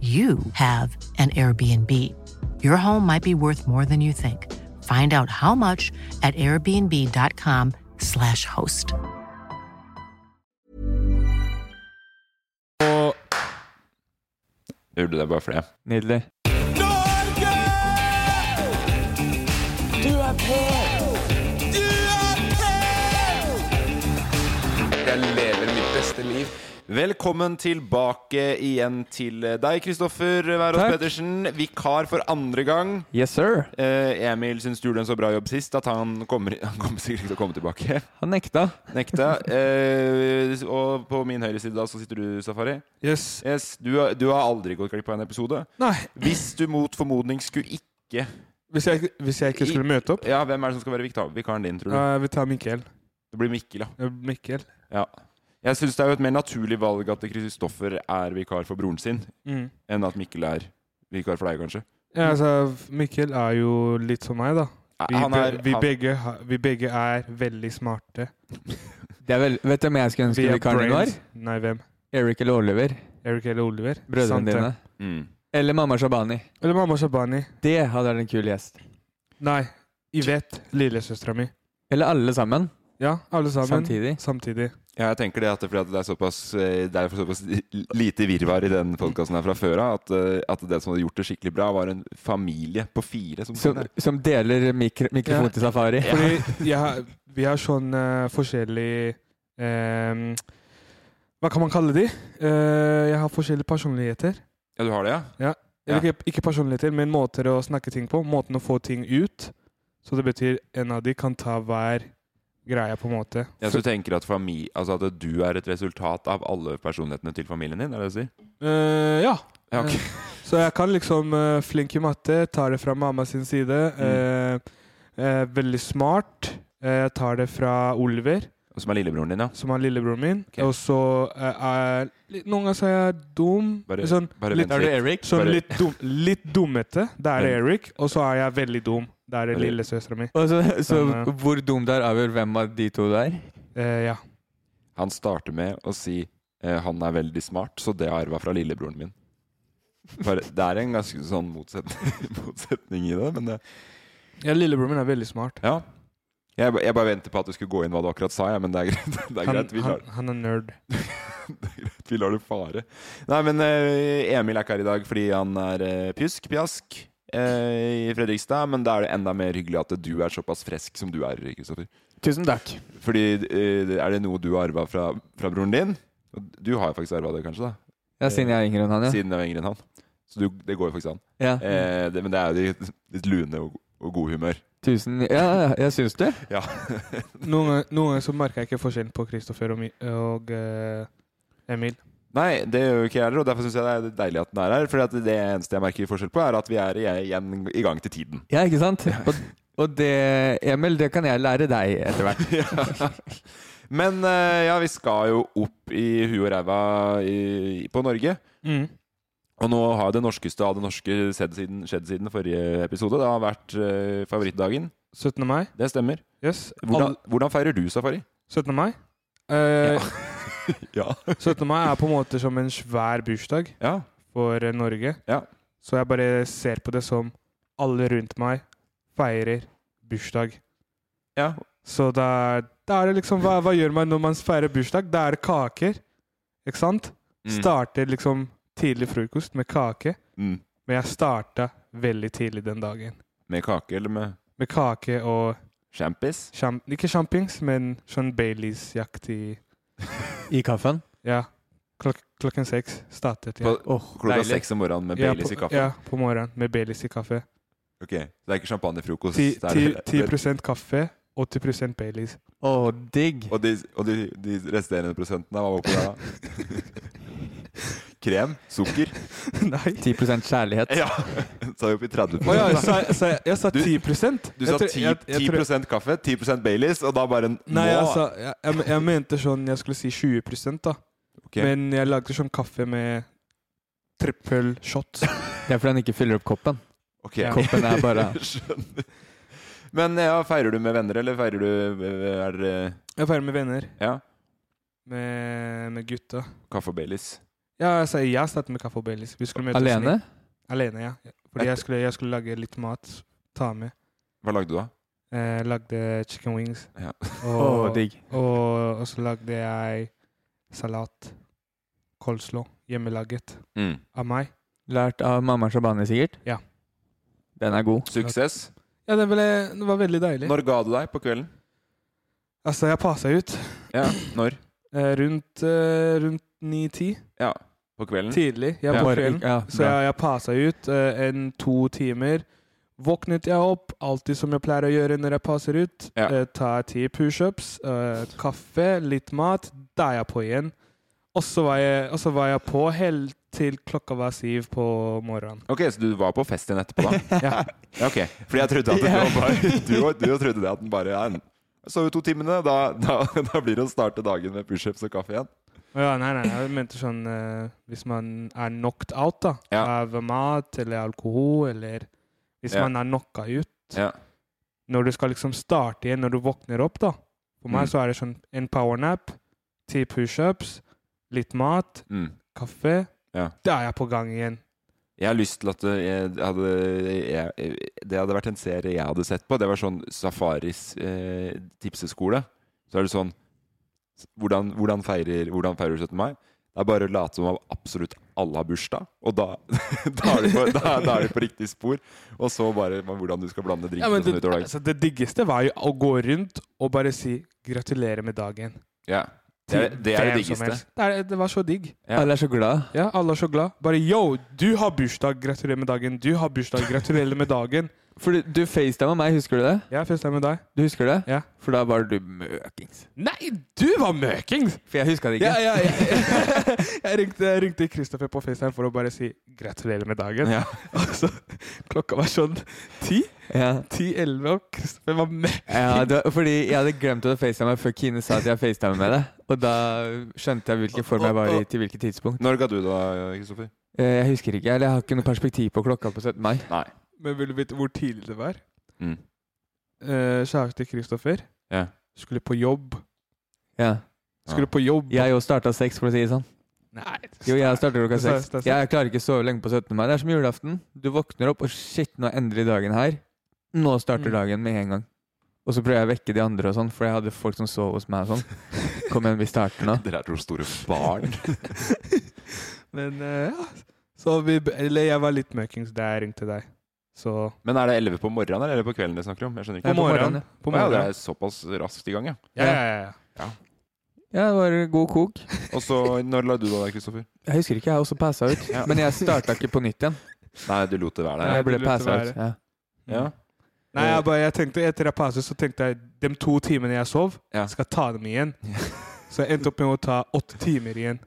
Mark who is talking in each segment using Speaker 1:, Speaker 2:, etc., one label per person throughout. Speaker 1: you have an Airbnb. Your home might be worth more than you think. Find out how much at airbnb.com/slash host.
Speaker 2: Og
Speaker 3: Jeg gjorde det bare for det.
Speaker 2: nydelig.
Speaker 3: Jeg lever mitt beste liv.
Speaker 4: Velkommen tilbake igjen til deg, Kristoffer Wærås
Speaker 2: Takk.
Speaker 4: Pedersen. Vikar for andre gang.
Speaker 2: Yes, sir.
Speaker 4: Eh, Emil syns du gjorde en så bra jobb sist at han kommer, han kommer sikkert ikke til å komme tilbake.
Speaker 2: Han nekta.
Speaker 4: Nekta. Eh, og på min høyre side da så sitter du, Safari.
Speaker 2: Yes.
Speaker 4: Yes, du, har- du har aldri gått glipp av en episode.
Speaker 2: Nei,
Speaker 4: Hvis du mot formodning skulle ikke
Speaker 2: hvis jeg, hvis jeg ikke skulle møte opp
Speaker 4: Ja, hvem er det som skal være vikar? vikaren din, tror du?
Speaker 2: Jeg vil ta Mikkel. Eh,
Speaker 4: Det blir Mikkel, ja.
Speaker 2: Mikkel.
Speaker 4: ja. Jeg syns det er jo et mer naturlig valg at Kristoffer er vikar for broren sin,
Speaker 2: Mm.
Speaker 4: enn at Mikkel er vikar for deg, kanskje.
Speaker 2: Ja, altså, Mikkel er jo litt som meg, da.
Speaker 4: Eh,
Speaker 2: Vi,
Speaker 4: han er,
Speaker 2: be- vi,
Speaker 4: han-
Speaker 2: begge, ha- vi begge er veldig smarte.
Speaker 5: Det er vel, vet du hvem jeg skulle ønske
Speaker 2: Vi er
Speaker 5: vikaren din var?
Speaker 2: brains. Nei, hvem?
Speaker 5: Eric eller Oliver.
Speaker 2: Eric eller Oliver? Sant
Speaker 5: Brødrene
Speaker 2: det.
Speaker 5: dine.
Speaker 4: Mm.
Speaker 5: Eller mamma Shabani.
Speaker 2: Eller mamma Shabani.
Speaker 5: Det hadde vært en kul gjest.
Speaker 2: Nei, Yvette, lillesøstera mi.
Speaker 5: Eller alle sammen.
Speaker 2: Ja, alle sammen.
Speaker 5: Samtidig.
Speaker 2: Samtidig.
Speaker 4: Ja, jeg tenker det at det, er fordi at det er såpass, eh, det er såpass lite virvar i den podkasten her fra før av, at, eh, at det som hadde gjort det skikkelig bra, var en familie på fire som
Speaker 5: Som,
Speaker 4: kunne-
Speaker 5: som deler mikro, mikrofon
Speaker 2: Ja.
Speaker 5: til Safari.
Speaker 2: Fordi jeg, har- vi har sånn eh, forskjellig eh, Hva kan man kalle de? Eh, jeg har forskjellige personligheter.
Speaker 4: Ja, du har det, ja?
Speaker 2: Eller ikke, ikke personligheter, men måter å snakke ting på. Måten å få ting ut. Så det betyr en av de kan ta hver greie, på en måte.
Speaker 4: ja så du tenker at, fami, altså at du er et resultat av alle personlighetene til familien din? Er det det du sier?
Speaker 2: Eh, ja.
Speaker 4: Ja, ok.
Speaker 2: Så jeg kan liksom eh, flink i matte, tar det fra mamma sin side.
Speaker 4: Mm.
Speaker 2: eh, eh, veldig smart. Eh, Jeg tar det fra Oliver.
Speaker 4: Og Som er lillebroren din, ja?
Speaker 2: som er lillebroren min.
Speaker 4: Ok.
Speaker 2: Og så eh, er litt, Noen ganger så er jeg dum.
Speaker 4: Bare-
Speaker 2: sånn,
Speaker 4: bare
Speaker 2: litt,
Speaker 4: vent litt.
Speaker 5: Eric?
Speaker 2: sånn
Speaker 4: bare-
Speaker 2: litt, dum, litt dummete. Da er det
Speaker 4: Men-
Speaker 2: Eric. Og så er jeg veldig dum. Da er det
Speaker 4: Eller-
Speaker 2: lillesøstera mi.
Speaker 5: Og så, så
Speaker 2: Som, eh,
Speaker 5: hvor dum det er, avgjør hvem av de to det er.
Speaker 2: Eh, ja.
Speaker 4: Han starter med å si eh, 'han er veldig smart', så det arva fra lillebroren min. Bare, det er en ganske sånn motsetning, motsetning i det, men eh, det,
Speaker 2: ja, lillebroren min er veldig smart.
Speaker 4: ja. Jeg, ba- jeg bare venter på at du skulle gå inn hva du akkurat sa, jeg, men det er greit. Det er
Speaker 2: Han,
Speaker 4: greit. Vi, lar,
Speaker 2: han, han er nerd.
Speaker 4: vi lar det fare. Nei, men eh, Emil er ikke her i dag fordi han er eh, pjusk, pjask eh, i Fredrikstad. Men da er det enda mer hyggelig at du er såpass fresk som du er, Kristoffer.
Speaker 5: Tusen takk.
Speaker 4: Fordi eh, er det noe du har arva fra, fra broren din? Og Du har jo faktisk arva det, kanskje? da
Speaker 5: Ja, siden jeg er yngre enn han, ja.
Speaker 4: siden jeg var yngre enn han. Så du, det går jo faktisk an.
Speaker 5: ja.
Speaker 4: Eh, det, men det er jo ditt, ditt lune og, og god humør.
Speaker 5: Tusen Ja, ja, jeg syns det.
Speaker 4: Ja.
Speaker 2: Noen, ganger- noen ganger så merker jeg ikke forskjellen på Kristoffer og, mi- og eh, Emil.
Speaker 4: Nei, det gjør jo ikke jeg heller, og derfor syns jeg det er deilig at den er her. For det eneste jeg merker forskjell på, er at vi er i- igjen i gang til tiden.
Speaker 5: Ja, ikke sant? Og, og det, Emil, det kan jeg lære deg etter hvert.
Speaker 4: Ja. Men
Speaker 5: Mm.
Speaker 4: eh, ja, vi skal jo opp i huet og ræva i, på Norge. Og nå har det norskeste av det norske skjedd siden, skjedd siden forrige episode. Det har vært eh, favorittdagen.
Speaker 2: 17. mai.
Speaker 4: Det stemmer.
Speaker 2: Yes.
Speaker 4: Hvordan,
Speaker 2: Alle-
Speaker 4: hvordan feirer du safari?
Speaker 2: 17. mai. Eh,
Speaker 4: Ja.
Speaker 2: 17. mai er på en måte som en svær bursdag
Speaker 4: Ja.
Speaker 2: for eh, Norge.
Speaker 4: Ja.
Speaker 2: Så jeg bare ser på det som alle rundt meg feirer bursdag.
Speaker 4: ja.
Speaker 2: Så da er, da er det liksom hva, hva gjør man når man feirer bursdag? Da er det kaker. Ikke sant?
Speaker 4: Mm.
Speaker 2: Starter liksom tidlig frokost med kake.
Speaker 4: Mm.
Speaker 2: Men jeg starta veldig tidlig den dagen.
Speaker 4: Med kake eller med
Speaker 2: Med kake og
Speaker 4: champis?
Speaker 2: sjam- Ikke sjampings, men sånn Baileys-jaktig
Speaker 5: I kaffen?
Speaker 2: Ja. Klok klokken seks startet jeg.
Speaker 4: På klokka
Speaker 5: deilig.
Speaker 4: seks om morgenen med
Speaker 2: ja,
Speaker 4: Baileys i
Speaker 2: på,
Speaker 4: kaffen?
Speaker 2: ja, på morgenen med Baileys i kaffe.
Speaker 4: Ok, Det er ikke champagnefrokost?
Speaker 2: Ti-
Speaker 4: det er-
Speaker 2: ti- 10 kaffe, 80 Baileys.
Speaker 5: Å, digg.
Speaker 4: Og, de, og de, de resterende prosentene, hva var på det da? Krem? Sukker?
Speaker 2: Nei.
Speaker 5: 10 kjærlighet.
Speaker 4: Ja! Så er vi oppe i 30
Speaker 2: Å ja, jeg sa, jeg sa, jeg sa
Speaker 4: Du-
Speaker 2: 10
Speaker 4: Du
Speaker 2: Jeg
Speaker 4: sa
Speaker 2: tror-
Speaker 4: 10,
Speaker 2: jeg- jeg tror-
Speaker 4: 10 kaffe, 10 Baileys, og da bare en-
Speaker 2: Nei, altså,
Speaker 4: nå-
Speaker 2: jeg, sa, jeg, jeg, jeg mente sånn Jeg skulle si 20 da.
Speaker 4: Ok.
Speaker 2: Men jeg lagde sånn kaffe med trippel shot.
Speaker 5: Det er fordi han ikke fyller opp koppen.
Speaker 4: Ok.
Speaker 2: Ja.
Speaker 5: Koppen er bare
Speaker 4: Skjønner. Men ja, feirer du med venner, eller feirer du er, det-
Speaker 2: Jeg feirer med venner.
Speaker 4: Ja.
Speaker 2: Med, med gutta.
Speaker 4: kaffe og Baileys?
Speaker 2: Ja, altså, jeg startet med kaffe og Baileys. Vi skulle møtes
Speaker 5: alene?
Speaker 2: ned- Alene, ja. Fordi jeg skulle, jeg skulle lage litt mat. Ta med.
Speaker 4: Hva lagde du da?
Speaker 2: Eh, lagde chicken wings.
Speaker 4: Ja.
Speaker 5: Å, digg.
Speaker 2: Og, og så lagde jeg salat. Coleslaw. Hjemmelaget.
Speaker 4: Mm.
Speaker 2: Av meg.
Speaker 5: Lært av mamma Shabani, sikkert?
Speaker 2: Ja.
Speaker 5: Den er god.
Speaker 4: Suksess.
Speaker 2: Ja, det, ble, det var veldig deilig.
Speaker 4: Når ga du deg på kvelden?
Speaker 2: Altså, jeg passa ut
Speaker 4: Ja, når?
Speaker 2: eh, rundt, eh, rundt 9-10.
Speaker 4: Ja, på kvelden.
Speaker 2: Tidlig. Jeg
Speaker 4: Mm. Ja.
Speaker 2: på
Speaker 5: Bare-
Speaker 2: kvelden.
Speaker 5: ja,
Speaker 2: Så jeg, jeg passa ut eh, en to timer. Våknet jeg opp, alltid som jeg pleier å gjøre når jeg passer ut.
Speaker 4: Ja.
Speaker 2: Eh, tar ti pushups, eh, kaffe, litt mat. Da er jeg på igjen. Og så var, jeg- og så var jeg på helt til klokka var syv på morgenen.
Speaker 4: Ok, så du var på fest igjen etterpå, da?
Speaker 2: Ja.
Speaker 4: Ja, ok. Fordi jeg trodde at det var bare Du, du trodde det at den bare ja, den- Så jo to timene, da, da, da blir det å starte dagen med pushups og kaffe igjen.
Speaker 2: Å Ja, nei, nei, nei, jeg mente sånn eh, Hvis man er knocked out da
Speaker 4: Ja.
Speaker 2: av mat eller alkohol, eller hvis
Speaker 4: Ja.
Speaker 2: man er knocka ut
Speaker 4: Ja.
Speaker 2: Når du skal liksom starte igjen, når du våkner opp, da For meg
Speaker 4: Mm.
Speaker 2: så er det sånn en powernap, ti pushups, litt mat,
Speaker 4: Mm.
Speaker 2: kaffe.
Speaker 4: Ja.
Speaker 2: Da er jeg på gang igjen.
Speaker 4: Jeg har lyst til at det- jeg hadde, jeg, det hadde vært en serie jeg hadde sett på. Det var sånn Safaris eh, tipseskole. Så er det sånn Hvordan, hvordan, feirer, hvordan feirer du 17. mai? Det er bare å late som om absolutt alle har bursdag, og da, da, er du på, da, da er du på riktig spor. Og så bare med hvordan du skal blande drinkene
Speaker 2: Ja, men det,
Speaker 4: sånn utover dagen.
Speaker 2: altså, det diggeste var jo å gå rundt og bare si 'gratulerer med dagen'.
Speaker 4: Ja. Det er
Speaker 2: til
Speaker 4: det, er det
Speaker 2: hvem som
Speaker 4: diggeste.
Speaker 2: helst. Det, er, det var så digg.
Speaker 4: Ja.
Speaker 5: Alle er så glad.
Speaker 2: Ja, alle er så glad. Bare yo, du har bursdag, gratulerer med dagen. Du har bursdag, gratulerer med dagen.
Speaker 5: For du, du facetima meg, husker du det?
Speaker 2: Jeg er festa med deg.
Speaker 5: Du husker det?
Speaker 2: Ja.
Speaker 5: For da var du møkings.
Speaker 2: Nei, du var møkings!
Speaker 5: For jeg huska det ikke.
Speaker 2: Ja, ja, ja. Jeg ringte, jeg ringte Kristoffer på FaceTime for å bare si 'gratulerer med dagen'.
Speaker 4: Ja.
Speaker 2: Og så Altså, klokka var sånn ti.
Speaker 5: Ja.
Speaker 2: Ti-elleve, og Kristoffer var med.
Speaker 5: Ja, det var, fordi jeg hadde glemt å facetime meg før Kine sa at jeg facetime med deg. Og da skjønte jeg hvilken form jeg var i til hvilket tidspunkt.
Speaker 4: Når ga du da, Kristoffer?
Speaker 5: Eh, Jeg husker ikke, eller jeg har ikke noe perspektiv på klokka på 17. mai.
Speaker 4: Nei.
Speaker 2: Men vil du vite hvor tidlig det var?
Speaker 4: Mm.
Speaker 2: Eh, Kjæreste Kristoffer
Speaker 4: Ja.
Speaker 2: skulle på jobb.
Speaker 5: Ja.
Speaker 2: Skulle på jobb.
Speaker 5: Jeg òg starta seks, for å si det sånn.
Speaker 2: Nei,
Speaker 5: Jo, jeg starter klokka
Speaker 2: Det er
Speaker 5: seks.
Speaker 2: sant, det er sant.
Speaker 5: Jeg klarer ikke å sove lenge på 17. mai. Det er som julaften. Du våkner opp, og shit, nå er endelig dagen her. Nå starter
Speaker 2: Mm.
Speaker 5: dagen med en gang. Og så prøver jeg å vekke de andre, og sånn, for jeg hadde folk som sov hos meg. og sånn. Kom igjen, vi starter nå.
Speaker 4: Dere er to store barn.
Speaker 2: Men eh, ja. Så vi Eller jeg var litt møkings da jeg ringte deg. Så
Speaker 4: Men er det 11 på morgenen eller er det på kvelden dere snakker om? Jeg skjønner
Speaker 2: På
Speaker 5: Nei,
Speaker 4: ikke.
Speaker 2: morgenen.
Speaker 4: Å
Speaker 2: På
Speaker 4: ja, dere
Speaker 2: morgenen.
Speaker 4: er såpass raskt i gang, ja.
Speaker 2: Ja, ja, ja, ja.
Speaker 5: Ja, det var god kok.
Speaker 4: Og så, når la du da deg, Kristoffer?
Speaker 5: Jeg husker ikke, jeg har også passa ut.
Speaker 4: Ja.
Speaker 5: Men jeg starta ikke på nytt igjen.
Speaker 4: Nei, du lot det være der.
Speaker 2: Nei,
Speaker 5: Jeg ble
Speaker 2: du lot det
Speaker 5: passa ut.
Speaker 2: være.
Speaker 5: Ja.
Speaker 4: Ja.
Speaker 2: Nei, jeg, bare, jeg tenkte etter jeg passet, så tenkte jeg de to timene jeg sov,
Speaker 4: Ja.
Speaker 2: skal jeg ta dem igjen. Så jeg endte opp med å ta åtte timer igjen.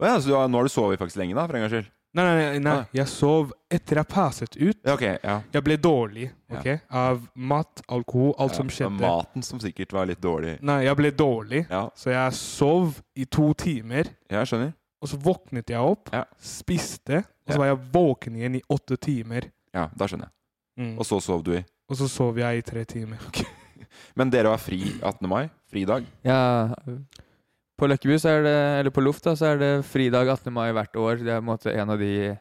Speaker 4: Å ja, så du har, nå har du sovet faktisk lenge, da, for en gangs skyld?
Speaker 2: Nei, nei, nei, nei.
Speaker 4: Ah.
Speaker 2: jeg sov etter jeg passet ut.
Speaker 4: Ja, ok. Ja.
Speaker 2: Jeg ble dårlig
Speaker 4: Ja.
Speaker 2: ok? av mat, alkohol, alt
Speaker 4: Ja,
Speaker 2: som
Speaker 4: men
Speaker 2: skjedde.
Speaker 4: Maten som sikkert var litt dårlig.
Speaker 2: Nei, jeg ble dårlig,
Speaker 4: Ja,
Speaker 2: så jeg sov i to timer.
Speaker 4: jeg skjønner.
Speaker 2: Og så våknet jeg opp,
Speaker 4: Ja.
Speaker 2: spiste, og
Speaker 4: Ja.
Speaker 2: så var jeg våken igjen i åtte timer.
Speaker 4: Ja, da skjønner jeg.
Speaker 2: Mm.
Speaker 4: Og så sov du i.
Speaker 2: Og så sov jeg i tre timer.
Speaker 4: Men dere var fri 18. mai? Fridag?
Speaker 5: Ja, på Løkkebu, så er det, eller på Loft, da, så er det fridag 18. mai hvert år. Det er på en måte en av de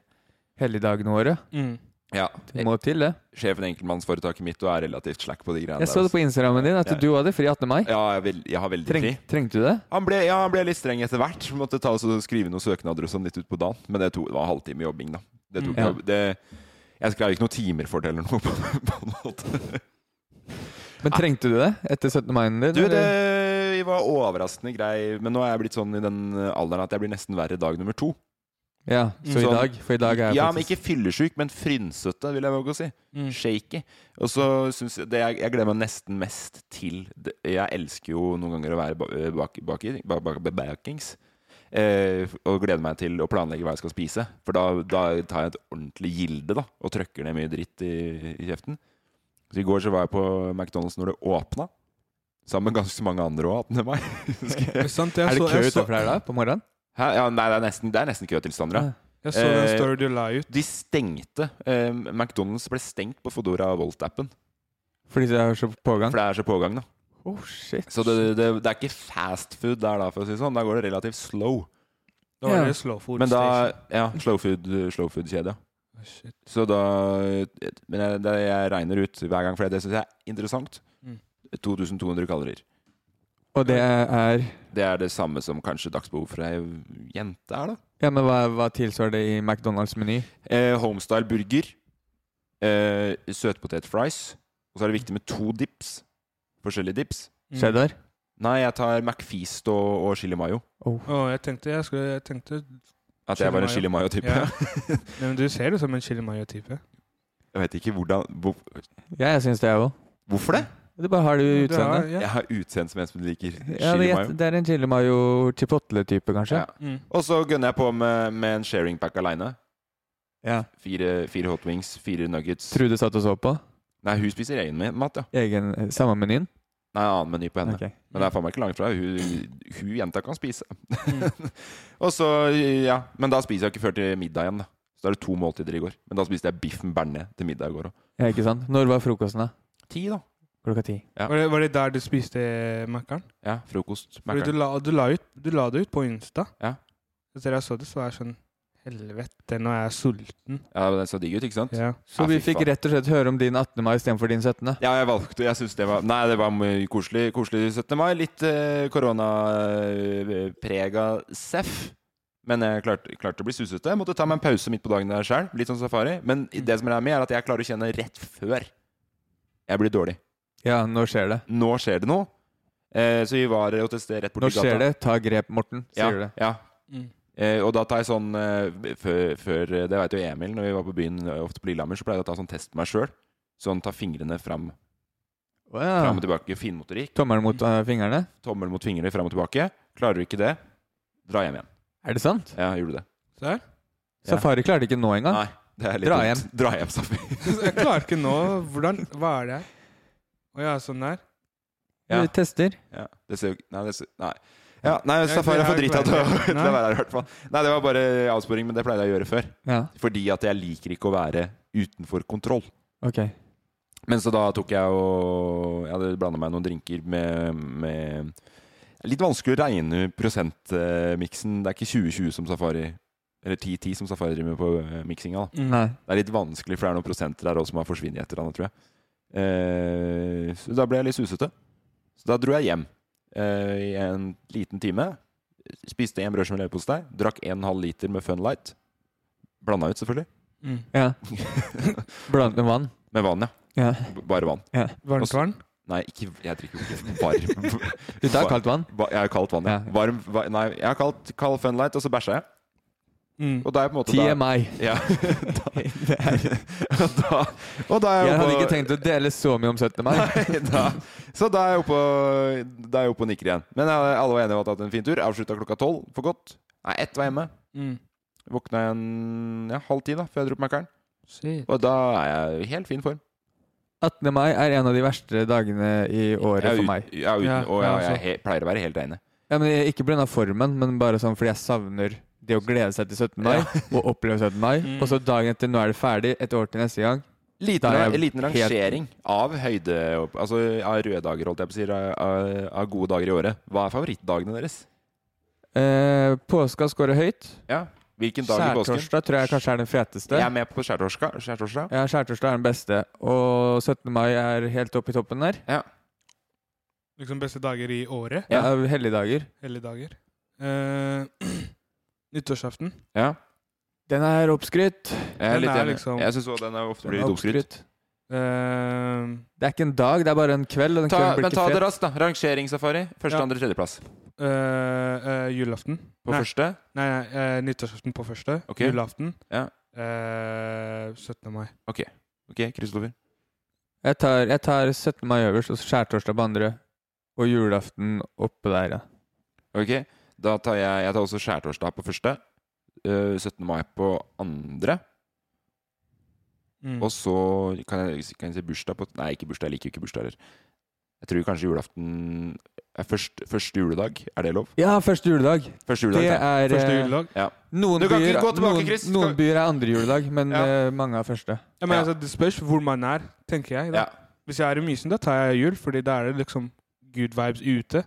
Speaker 5: helligdagene våre.
Speaker 2: Mm.
Speaker 4: Ja.
Speaker 5: Det må til, det.
Speaker 4: Sjefen i enkeltmannsforetaket mitt og er relativt slack på de greiene
Speaker 5: Jeg så det på Instagrammen din, at
Speaker 4: Ja.
Speaker 5: du hadde fri 18. mai.
Speaker 4: Ja, jeg, vil, jeg har veldig
Speaker 5: Treng,
Speaker 4: fri.
Speaker 5: trengte du det?
Speaker 4: Han ble, ja, han ble litt streng etter hvert. Måtte ta oss og skrive noen søknader og sånn litt ut på dagen. Men det, tok, det var halvtime jobbing, da. Det tok,
Speaker 5: Mm. Ja.
Speaker 4: det, jeg skrev ikke noen timer for det eller noe. På, på en måte.
Speaker 5: Men trengte du det etter 17. mai-en din?
Speaker 4: Du, det
Speaker 5: eller?
Speaker 4: var overraskende grei, men nå er jeg blitt sånn i den alderen at jeg blir nesten verre dag nummer to.
Speaker 5: Ja, så i
Speaker 4: Sånn-
Speaker 5: dag. For i dag er jeg
Speaker 4: Ja, men
Speaker 5: faktisk
Speaker 4: ikke fyllesyk, men frynsete, vil jeg våge å si.
Speaker 2: Mm.
Speaker 4: Shaky. Og så syns jeg det jeg, jeg gleder meg nesten mest til det- Jeg elsker jo noen ganger å være ba- eh, bak, bak, bak, bak, bakings. Eh, og gleder meg til å planlegge hva jeg skal spise. For da, da tar jeg et ordentlig gilde da og trykker ned mye dritt i, i kjeften. Så I går så var jeg på McDonald's når det åpna. Sammen med ganske mange andre òg, 18. mai. Husker jeg.
Speaker 2: Sant? Jeg
Speaker 5: Er det
Speaker 2: så-
Speaker 5: kø
Speaker 2: jeg så-
Speaker 5: utenfor der da, på morgenen?
Speaker 4: Hæ? Ja, nei, det er nesten, det er nesten køtilstander. ja.
Speaker 2: Jeg så den
Speaker 4: Eh,
Speaker 2: story du la ut.
Speaker 4: De stengte. Eh, McDonald's ble stengt på Fodora Volt-appen.
Speaker 5: Fordi det er så pågang?
Speaker 4: For det er så pågang, da.
Speaker 5: Oh, shit.
Speaker 4: Så det, det, det er ikke fast food der, da, for å si det sånn. Da går det relativt slow.
Speaker 2: Da var
Speaker 5: ja.
Speaker 2: det slow food
Speaker 4: Men da
Speaker 2: station.
Speaker 4: Ja, slow food, slow food kjede, ja.
Speaker 2: Å, shit.
Speaker 4: Så da Men jeg, det jeg regner ut hver gang, for det syns jeg er interessant.
Speaker 2: Mm.
Speaker 4: 2200 kalorier.
Speaker 5: Og det er
Speaker 4: Det er det samme som kanskje dagsbehov for ei jente er, da.
Speaker 5: Ja, men hva, hva tilsvarer det i McDonald's meny?
Speaker 4: Eh, homestyle burger. Eh, søtpotet fries. Og så er det viktig med to dips. Forskjellige dips.
Speaker 2: Mm.
Speaker 5: Cheddar?
Speaker 4: Nei, jeg tar McFeast og, og chili mayo.
Speaker 2: Mm. Å, jeg tenkte jeg skulle jeg tenkte,
Speaker 4: At jeg var en
Speaker 2: Chili
Speaker 4: chili mayo-type.
Speaker 2: Ja. Nei, men Du ser ut som en chili mayo-type.
Speaker 4: Jeg vet ikke hvordan hvor,
Speaker 5: Ja, jeg syns det, jeg òg.
Speaker 4: Hvorfor det?
Speaker 5: Det bare har du i
Speaker 2: Du har-
Speaker 5: utseendet.
Speaker 2: ja.
Speaker 4: Jeg har utseende som en som liker chili
Speaker 5: Ja, det,
Speaker 4: mayo.
Speaker 5: er- det er en chili mayo chipotle-type, kanskje.
Speaker 4: Ja. Og så gønner jeg på med, med en sharing pack aleine.
Speaker 5: Ja.
Speaker 4: Fire, fire hot wings, fire nuggets
Speaker 5: Trude satt og så på.
Speaker 4: Nei, hun spiser egen mi- mat, ja.
Speaker 5: Egen, samme menyen.
Speaker 4: Nei, annen meny på henne.
Speaker 5: Ok.
Speaker 4: Men det er faen meg ikke langt fra. Hun, hun jenta kan spise. og så, ja Men da spiser jeg ikke før til middag igjen, da. Så da er det to måltider i går. Men da spiste jeg biffen bearnés til middag i går òg.
Speaker 5: Ja, ikke sant? Når var frokosten, da?
Speaker 4: Ti, da.
Speaker 5: Klokka ti.
Speaker 4: Ja.
Speaker 2: Var, det, var det der du spiste Mækkern?
Speaker 4: Ja, frokost.
Speaker 2: Fordi Du,
Speaker 4: Mackeren.
Speaker 2: la- du, la ut- du la det ut på Insta.
Speaker 4: Ja.
Speaker 2: Så da jeg så det, så var jeg sånn Helvete, nå er jeg sulten.
Speaker 4: Ja, men den så digg ut, ikke sant?
Speaker 2: Ja.
Speaker 5: Så
Speaker 4: Ja,
Speaker 5: vi
Speaker 4: fy
Speaker 5: fikk
Speaker 4: faen.
Speaker 5: rett og slett høre om din 18. mai istedenfor din 17.
Speaker 4: Ja, jeg valgte Jeg synes det var Nei, det var mye koselig, koselig 17. mai. Litt eh, koronaprega seff. Men jeg klarte, klarte å bli susete. Jeg måtte ta meg en pause midt på dagen der sjøl. Litt sånn safari. Men det som er med, er at jeg klarer å kjenne rett før jeg blir dårlig.
Speaker 5: Ja, nå skjer det.
Speaker 4: Nå skjer det noe. Eh, så vi var jo til sted rett
Speaker 5: Nå
Speaker 4: borti
Speaker 5: skjer det. Ta grep, Morten,
Speaker 4: Ja,
Speaker 5: sier du det.
Speaker 4: ja.
Speaker 2: Mm.
Speaker 4: Eh, og da tar jeg sånn eh, før, før Det veit jo Emil, når vi var på byen eh, ofte på Lillehammer, så pleide jeg å ta sånn test på meg sjøl. Sånn ta fingrene fram,
Speaker 5: Å,
Speaker 4: fram
Speaker 5: ja.
Speaker 4: og tilbake. Finmotorikk.
Speaker 5: Tommelen mot eh, fingrene?
Speaker 4: tommel mot fingrene fram og tilbake. Klarer du ikke det, dra hjem igjen.
Speaker 5: Er det sant?
Speaker 4: Ja, gjorde det.
Speaker 2: Så her.
Speaker 4: Ja.
Speaker 5: Safari klarte ikke nå engang.
Speaker 4: Nei, det er litt
Speaker 5: Dra
Speaker 4: dumt. Dra hjem, Safi.
Speaker 2: Jeg klarer ikke nå Hvordan Hva er det her? Å ja, sånn der?
Speaker 4: Ja.
Speaker 5: Vi tester.
Speaker 4: Ja, det ser jo ikke Nei, det ser Nei. Ja, nei,
Speaker 2: Jeg-
Speaker 4: Safari
Speaker 2: jeg
Speaker 4: får drita
Speaker 2: klarer
Speaker 4: til å
Speaker 2: ikke.
Speaker 4: til å være her, i hvert fall. Nei, det var bare avsporing, men det pleide jeg å gjøre før.
Speaker 5: Ja,
Speaker 4: Fordi at jeg liker ikke å være utenfor kontroll.
Speaker 5: ok.
Speaker 4: Men så da tok jeg og Jeg hadde blanda meg noen drinker med, med Litt vanskelig å regne prosentmiksen. Det er ikke 2020 som Safari Eller 10-10 som Safari driver med på eh, miksinga, da.
Speaker 5: Nei.
Speaker 4: Det er litt vanskelig, for det er noen prosenter der også som har forsvunnet etter annet, tror jeg. Eh, så da ble jeg litt susete. Så da dro jeg hjem eh, i en liten time. Spiste én brødskive med leverpostei. Drakk en halv liter med Fun Light. Blanda ut, selvfølgelig.
Speaker 2: Mm.
Speaker 5: Ja. Blandet med vann.
Speaker 4: Med vann, ja.
Speaker 5: Ja.
Speaker 4: B- Bare vann. Og
Speaker 2: Varmt
Speaker 4: så-
Speaker 2: vann?
Speaker 4: Nei, ikke, jeg drikker jo ikke varm
Speaker 5: Du tar kaldt vann?
Speaker 4: va- Jeg har kaldt vann, ja.
Speaker 5: Ja.
Speaker 4: Varm, va- nei, jeg har kaldt kald Fun Light, og så bæsja jeg.
Speaker 2: Mm.
Speaker 4: Og da er jeg på en måte da,
Speaker 5: TMI.
Speaker 4: ja,
Speaker 5: Det er-
Speaker 4: og da, og da er jeg
Speaker 5: Jeg hadde
Speaker 4: på-
Speaker 5: ikke tenkt å dele så mye om 17. mai.
Speaker 4: Nei, da. Så da er jeg oppe og, da er jeg oppe og nikker igjen. Men jeg- alle var enige om at jeg hadde hatt en fin tur. Avslutta klokka tolv for godt. Nei, ett var hjemme.
Speaker 2: Mm.
Speaker 4: Våkna igjen ja, halv ti da, før jeg dro på Mækkern.
Speaker 2: Shit.
Speaker 4: Og da er jeg i helt fin form.
Speaker 5: 18. mai er en av de verste dagene i året
Speaker 4: jeg er
Speaker 5: for
Speaker 4: ut-
Speaker 5: meg.
Speaker 4: Jeg er uten,
Speaker 2: Ja,
Speaker 4: og jeg,
Speaker 2: ja,
Speaker 4: jeg he, pleier å være helt enig.
Speaker 5: Ja, men ikke pga. formen, men bare sånn fordi jeg savner det å glede seg til 17. mai og oppleve 17. mai,
Speaker 2: Mm.
Speaker 5: og så dagen etter 'nå er det ferdig', et år til neste gang.
Speaker 4: Liten,
Speaker 5: Da er jeg
Speaker 4: en liten
Speaker 5: helt-
Speaker 4: rangering av høyde... Altså av røde dager, holdt jeg på å si. Av, av- av gode dager i året. Hva er favorittdagene deres?
Speaker 5: Eh, påska scorer høyt.
Speaker 4: Ja. Hvilken dag i påsken?
Speaker 5: Skjærtorsdag tror jeg kanskje er den feteste.
Speaker 4: Jeg er med på skjærtorsdag. skjærtorsdag.
Speaker 5: Ja, Skjærtorsdag er den beste, og 17. mai er helt oppe i toppen der.
Speaker 2: Liksom beste dager i året.
Speaker 5: Ja. Helligdager.
Speaker 2: Helligdager. Eh, nyttårsaften.
Speaker 4: Ja.
Speaker 5: Den er oppskrytt.
Speaker 4: Jeg er
Speaker 2: Den
Speaker 4: litt
Speaker 2: er
Speaker 4: enig.
Speaker 2: liksom-
Speaker 4: Jeg syns også den er ofte
Speaker 5: Den
Speaker 4: blir
Speaker 5: er
Speaker 4: litt oppskrytt.
Speaker 2: Eh,
Speaker 5: Det er ikke en dag, det er bare en kveld. Og den
Speaker 4: Ta,
Speaker 5: kvelden blir
Speaker 4: men ta
Speaker 5: ikke
Speaker 4: det
Speaker 5: fet.
Speaker 4: raskt, da. Rangeringssafari. Første,
Speaker 2: Ja.
Speaker 4: andre, tredjeplass.
Speaker 2: eh, eh, julaften.
Speaker 4: På
Speaker 2: Nei.
Speaker 4: første
Speaker 2: Nei, nei eh, nyttårsaften på første.
Speaker 4: Ok.
Speaker 2: Julaften.
Speaker 4: Ja.
Speaker 2: Eh, 17. mai.
Speaker 4: Ok, Kristoffer.
Speaker 5: Jeg tar, jeg tar 17. mai øverst, og så skjærtorsdag på andre. Og julaften oppe der, ja.
Speaker 4: Ok, da tar jeg Jeg tar også skjærtorsdag på første. eh, 17. mai på andre.
Speaker 2: Mm.
Speaker 4: Og så kan jeg, kan jeg si bursdag på Nei, ikke bursdag. Jeg liker jo ikke bursdager. Jeg tror kanskje julaften er først, Første juledag. Er det lov?
Speaker 5: Ja, første juledag.
Speaker 4: Første
Speaker 5: Det
Speaker 4: juledag. tar jeg.
Speaker 5: er
Speaker 2: Første
Speaker 5: eh,
Speaker 2: juledag.
Speaker 5: Noen
Speaker 4: Du kan
Speaker 5: byer,
Speaker 4: ikke gå tilbake,
Speaker 5: noen,
Speaker 4: Chris.
Speaker 5: noen
Speaker 4: Skal-
Speaker 5: byer er andre juledag, men
Speaker 4: Ja.
Speaker 5: eh, mange er første.
Speaker 2: Ja, men
Speaker 4: Ja.
Speaker 2: Altså, det spørs hvor man er, tenker jeg. Da.
Speaker 4: Ja.
Speaker 2: Hvis jeg er i Mysen, da tar jeg jul, fordi da er det liksom good vibes ute.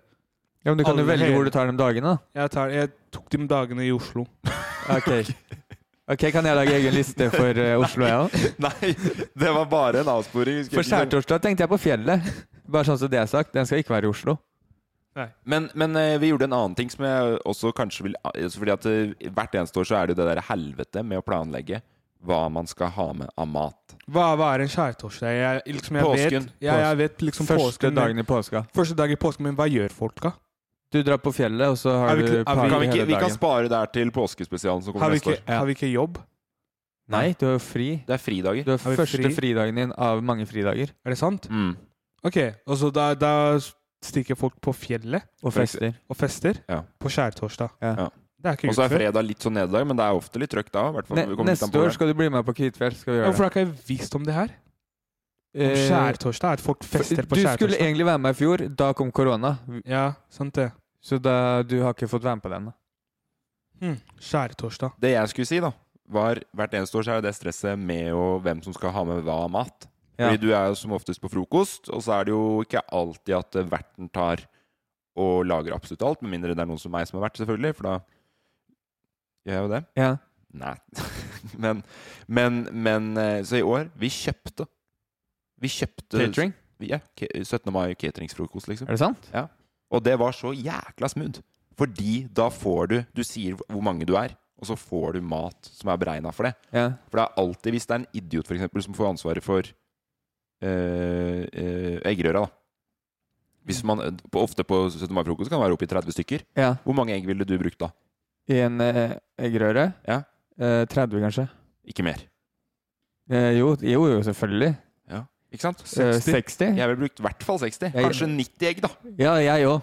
Speaker 5: Ja, men Du kan jo
Speaker 2: Alle
Speaker 5: velge
Speaker 2: hele-
Speaker 5: hvor du tar de dagene. da.
Speaker 2: Jeg, tar, jeg tok de dagene i Oslo.
Speaker 5: Ok. Ok, Kan jeg lage egen liste for eh, Oslo, jeg òg?
Speaker 4: Nei, det var bare en avsporing. husker jeg
Speaker 5: For
Speaker 4: ikke.
Speaker 5: skjærtorsdag tenkte jeg på fjellet. Bare sånn som det er sagt. Den skal ikke være i Oslo.
Speaker 4: Men, men eh, vi gjorde en annen ting som jeg også kanskje vil altså Fordi at eh, hvert eneste år så er det jo det der helvete med å planlegge hva man skal ha med av mat.
Speaker 2: Hva, hva er en skjærtorsdag? Jeg, liksom, jeg
Speaker 4: Påsken.
Speaker 2: Vet, ja, jeg vet liksom
Speaker 5: Første
Speaker 2: påsken, men-
Speaker 5: dagen i påska.
Speaker 2: første dag i påsken, men hva gjør folk da?
Speaker 5: Du drar på fjellet, og så
Speaker 2: Er
Speaker 5: har
Speaker 2: vi
Speaker 5: du
Speaker 2: ikke- er vi-
Speaker 5: party
Speaker 4: Kan vi, ikke,
Speaker 5: hele
Speaker 4: vi kan
Speaker 5: dagen.
Speaker 4: spare det her til påskespesialen som
Speaker 2: Har
Speaker 4: kommer
Speaker 2: vi
Speaker 4: neste
Speaker 2: ikke,
Speaker 4: år.
Speaker 5: Ja.
Speaker 2: har vi ikke jobb?
Speaker 5: Nei, du er jo fri.
Speaker 4: Det er fridager.
Speaker 5: Du er
Speaker 2: Har vi
Speaker 5: første
Speaker 2: fri?
Speaker 5: fridagen din av mange fridager.
Speaker 2: Er det sant?
Speaker 4: Mm.
Speaker 2: Ok, og så da, da stikker folk på fjellet
Speaker 5: Og
Speaker 4: For eksempel-
Speaker 5: fester.
Speaker 2: og fester
Speaker 4: Ja.
Speaker 2: på skjærtorsdag.
Speaker 5: Ja.
Speaker 4: Ja.
Speaker 2: Det er ikke
Speaker 4: Og så
Speaker 2: gjort
Speaker 4: er
Speaker 2: før.
Speaker 4: fredag litt sånn nederlag, men det er ofte litt trøkk da. i hvert fall.
Speaker 5: Ne
Speaker 4: Det kommer litt an
Speaker 5: neste
Speaker 4: på
Speaker 5: år
Speaker 4: det.
Speaker 5: skal du bli med på Kvitfjell. Skal vi gjøre
Speaker 2: Hvorfor har ikke jeg visst om det her? Om
Speaker 5: Eh,
Speaker 2: skjærtorsdag, at folk fester på
Speaker 5: Du skulle
Speaker 2: skjærtorsdag.
Speaker 5: egentlig være med i fjor, da kom korona.
Speaker 2: Ja, sant det.
Speaker 5: Så da, du har ikke fått være med på den. da.
Speaker 2: Hm, Skjærtorsdag.
Speaker 4: Det jeg skulle si, da, var hvert eneste år så er det det stresset med å, hvem som skal ha med hva av mat.
Speaker 5: Ja.
Speaker 4: Fordi du er jo som oftest på frokost, og så er det jo ikke alltid at eh, verten tar og lager absolutt alt, med mindre det er noen som meg som har vært, selvfølgelig, for da gjør jeg jo det.
Speaker 5: Ja.
Speaker 4: Nei. men, men, men eh, Så i år, vi kjøpte. Vi kjøpte
Speaker 5: Catering.
Speaker 4: Vi- Ja, ke- 17. mai cateringsfrokost, liksom.
Speaker 5: Er det sant?
Speaker 4: Og det var så jækla smooth. Fordi da får du Du sier hvor mange du er, og så får du mat som er beregna for det.
Speaker 5: Ja.
Speaker 4: For det er alltid hvis det er en idiot for eksempel, som får ansvaret for eh, eh, eggerøra, da. Hvis man, på, ofte på 17. mai-frokost kan det være oppi 30 stykker.
Speaker 5: ja.
Speaker 4: Hvor mange egg ville du brukt da?
Speaker 5: I en eh, eggerøre?
Speaker 4: Ja.
Speaker 5: Eh, 30, kanskje?
Speaker 4: Ikke mer.
Speaker 5: Eh, jo, jo, jo, selvfølgelig.
Speaker 4: Ikke sant?
Speaker 5: Eh,
Speaker 4: 60.
Speaker 5: 60?
Speaker 4: Jeg ville brukt i hvert fall 60.
Speaker 5: Jeg-
Speaker 4: Kanskje 90 egg, da.
Speaker 5: Ja, jeg òg.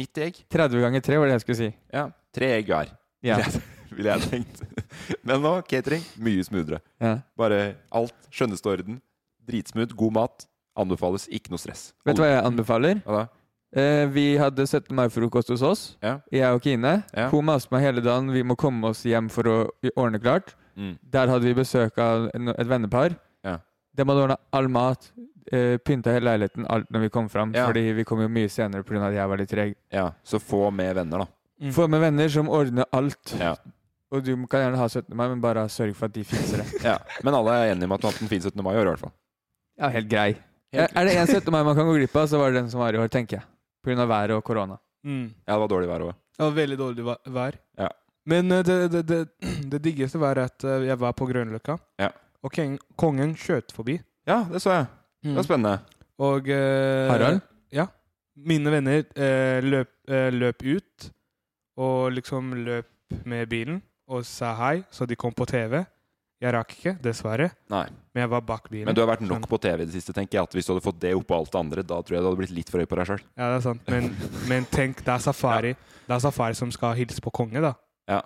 Speaker 4: 90 egg.
Speaker 5: 30 ganger 3 var det jeg skulle si.
Speaker 4: Ja. Tre egg hver,
Speaker 5: Ja.
Speaker 4: ville jeg tenkt. Men nå, catering, mye smoothere.
Speaker 5: ja.
Speaker 4: Bare alt. Skjønneste orden. Dritsmooth. God mat. Anbefales. Ikke noe stress.
Speaker 5: Vet du hva jeg anbefaler?
Speaker 4: Hva da?
Speaker 5: Eh, vi hadde 17. mai-frokost hos oss.
Speaker 4: Ja.
Speaker 5: Jeg og Kine.
Speaker 4: Ja.
Speaker 5: Hun maste meg hele dagen. Vi må komme oss hjem for å ordne klart.
Speaker 4: Mm.
Speaker 5: Der hadde vi besøk av en- et vennepar.
Speaker 4: Ja.
Speaker 5: De hadde ordna all mat, eh, pynta hele leiligheten alt når vi kom fram.
Speaker 4: Ja.
Speaker 5: Fordi vi kom jo mye senere pga. at jeg var litt treg.
Speaker 4: Ja, så få med venner, da.
Speaker 2: Mm.
Speaker 5: Få med venner som ordner alt.
Speaker 4: Ja.
Speaker 5: Og du kan gjerne ha 17. mai, men bare sørg for at de fikser det.
Speaker 4: Ja. Men alle er enige om at du har hatt en fin 17. mai i år, i hvert fall.
Speaker 5: Ja, helt grei.
Speaker 4: Helt-
Speaker 5: Er er det en 17. mai man kan gå glipp av, så var det den som var i år, tenker jeg. Pga. været og korona.
Speaker 2: Mm.
Speaker 4: Ja, det var dårlig vær òg.
Speaker 2: Det var veldig dårlig va- vær.
Speaker 4: Ja.
Speaker 2: Men eh, det, det, det, det diggeste var at eh, jeg var på Grønløkka,
Speaker 4: Ja.
Speaker 2: og keng- kongen skjøt forbi.
Speaker 4: Ja, det så jeg. Det
Speaker 5: Mm.
Speaker 4: var spennende.
Speaker 2: Og eh,
Speaker 5: Harald?
Speaker 2: mine venner eh, løp, eh, løp ut, og liksom løp med bilen og sa hei, så de kom på TV. Jeg rakk ikke, dessverre,
Speaker 4: Nei.
Speaker 2: men jeg var bak bilen.
Speaker 4: Men du har vært nok på TV i det siste, tenker jeg. At hvis du hadde fått det oppå alt det andre, da tror jeg du hadde blitt litt for høy på deg sjøl.
Speaker 2: Ja, det er sant. Men, men tenk, det er safari Det er safari som skal hilse på konge, da.
Speaker 4: Ja.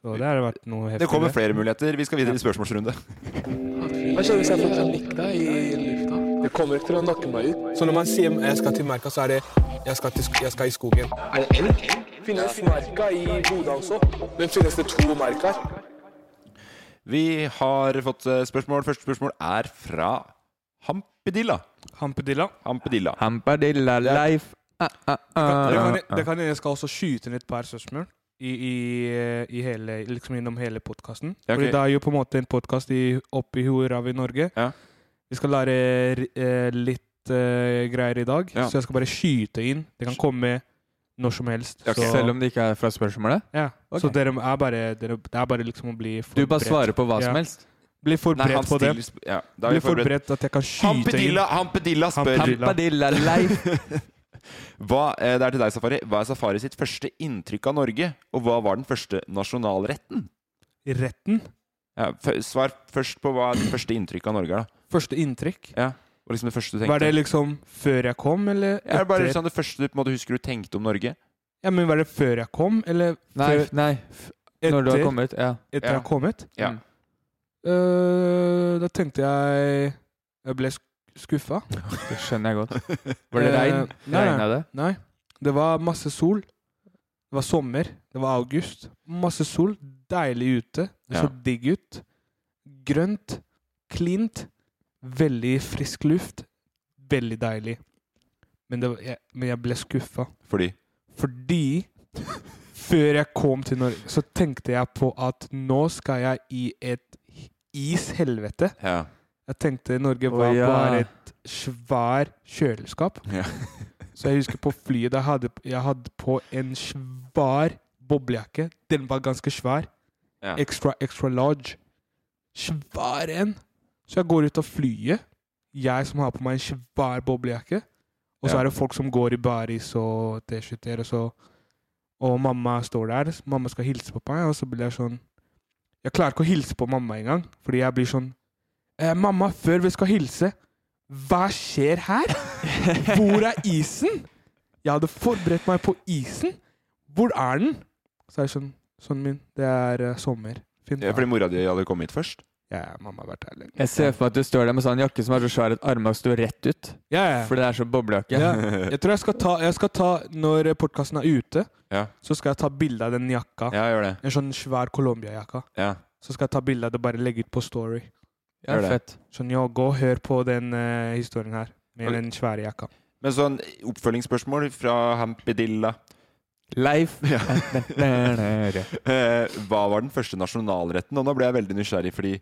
Speaker 2: Så det har vært noe heftig.
Speaker 4: Det kommer flere muligheter. Vi skal videre i spørsmålsrunde.
Speaker 6: Jeg kjenner hvis jeg får panikk da i lufta. Det kommer ikke til å nakke meg ut.
Speaker 7: Så når man sier jeg skal til merka, så er det jeg skal, til, sk- jeg skal i skogen.
Speaker 6: Er det elg? Finnes merka i Bodø også? Men finnes det to merker?
Speaker 4: Vi har fått eh, spørsmål. Første spørsmål er fra Hampedilla.
Speaker 2: Hampedilla.
Speaker 4: Hampedilla.
Speaker 5: Hampadilla life. Ah, ah,
Speaker 2: Det
Speaker 5: ah.
Speaker 2: kan, det kan jeg skal også skyte inn et par spørsmål i, i, i hele, liksom gjennom hele podkasten.
Speaker 4: Ja, ok.
Speaker 2: Fordi det er jo på en måte en podkast oppi Horav i Norge.
Speaker 4: Ja.
Speaker 2: Vi skal lære eh, litt eh, greier i dag,
Speaker 4: Ja.
Speaker 2: så jeg skal bare skyte inn. Det kan komme når som helst.
Speaker 4: Ja, ok.
Speaker 2: Så,
Speaker 5: Selv om det ikke er fra spørsmålet?
Speaker 2: ja.
Speaker 5: Ok.
Speaker 2: så dere er bare, dere, det er bare liksom å bli
Speaker 5: Du
Speaker 2: forberedt.
Speaker 5: bare svarer på hva
Speaker 2: Ja.
Speaker 5: som helst?
Speaker 2: Bli
Speaker 4: Nei, han
Speaker 2: forberedt på det.
Speaker 4: stiller sp- Ja, da er
Speaker 2: Bli
Speaker 4: vi forberedt.
Speaker 2: forberedt at jeg kan skyte inn.
Speaker 4: Hampedilla, Hampedilla spør
Speaker 2: Hampedilla.
Speaker 5: Hampadilla life.
Speaker 4: hva, eh, Det er til deg, Safari. Hva er Safari sitt første inntrykk av Norge? Og hva var den første nasjonalretten?
Speaker 2: Retten.
Speaker 4: Ja, f- svar først på hva ditt første inntrykk av Norge er. da
Speaker 2: Første inntrykk.
Speaker 4: Og liksom det første du tenkte
Speaker 2: Var det liksom før jeg kom, eller
Speaker 4: Ja, Er det bare
Speaker 2: etter-
Speaker 4: sånn det første du på en måte husker du tenkte om Norge?
Speaker 2: Ja, men var det før jeg kom, eller
Speaker 5: Nei,
Speaker 2: før,
Speaker 5: f- nei. f-
Speaker 2: etter,
Speaker 5: Når du har kommet? Ja.
Speaker 2: etter
Speaker 4: ja.
Speaker 2: jeg har kommet?
Speaker 4: Ja.
Speaker 5: Mm.
Speaker 2: Øh, da tenkte jeg Jeg ble sk- skuffa.
Speaker 5: Det skjønner jeg godt. Var det regn?
Speaker 2: Eh, nei,
Speaker 5: Regna det?
Speaker 2: Nei. Det var masse sol. Det var sommer. Det var august. Masse sol. Deilig ute. Det så
Speaker 4: Ja.
Speaker 2: digg ut. Grønt. Klint. Veldig frisk luft. Veldig deilig. Men, det var, jeg, men jeg ble skuffa.
Speaker 4: Fordi
Speaker 2: Fordi før jeg kom til Norge, så tenkte jeg på at nå skal jeg i et ishelvete.
Speaker 4: Ja.
Speaker 2: Jeg tenkte Norge
Speaker 5: Å,
Speaker 2: var
Speaker 5: ja.
Speaker 2: bare et svær kjøleskap.
Speaker 4: Ja.
Speaker 2: så jeg husker på flyet jeg hadde, jeg hadde på en svær boblejakke. Den var ganske svær.
Speaker 4: Ja.
Speaker 2: Extra, extra large. Svær en! Så jeg går ut av flyet, jeg som har på meg en svær boblejakke. Og så
Speaker 4: Ja.
Speaker 2: er det folk som går i baris og T-skjorter, og så Og mamma står der. Mamma skal hilse på meg, og så blir jeg sånn Jeg klarer ikke å hilse på mamma engang, fordi jeg blir sånn eh, 'Mamma, før vi skal hilse, hva skjer her? Hvor er isen?' Jeg hadde forberedt meg på isen. Hvor er den? Så er jeg sånn Sønnen min, det er eh, sommer. Fint.
Speaker 4: Ja, Fordi mora di hadde kommet hit først?
Speaker 2: Ja, ja, mamma har vært her lenge.
Speaker 5: Jeg ser for meg at du står der med sånn jakke som er så svær at armene står rett ut.
Speaker 2: Ja, ja.
Speaker 5: For det er så boblejakke.
Speaker 2: Ja. Jeg tror jeg skal ta, jeg skal ta Når podkasten er ute,
Speaker 4: Ja.
Speaker 2: så skal jeg ta bilde av den jakka.
Speaker 4: Ja, gjør det.
Speaker 2: En sånn svær Colombia-jakka.
Speaker 4: Ja.
Speaker 2: Så skal jeg ta bilde av det og bare legge ut på Story.
Speaker 5: Ja,
Speaker 4: Gjør det.
Speaker 5: fett.
Speaker 2: Sånn, ja, gå og hør på den eh, historien her. Med
Speaker 4: Ok.
Speaker 2: den svære jakka.
Speaker 4: Men sånn oppfølgingsspørsmål fra Hampedilla.
Speaker 5: Leif
Speaker 4: Ja. Eh, hva var den første nasjonalretten? Og nå ble jeg veldig nysgjerrig, fordi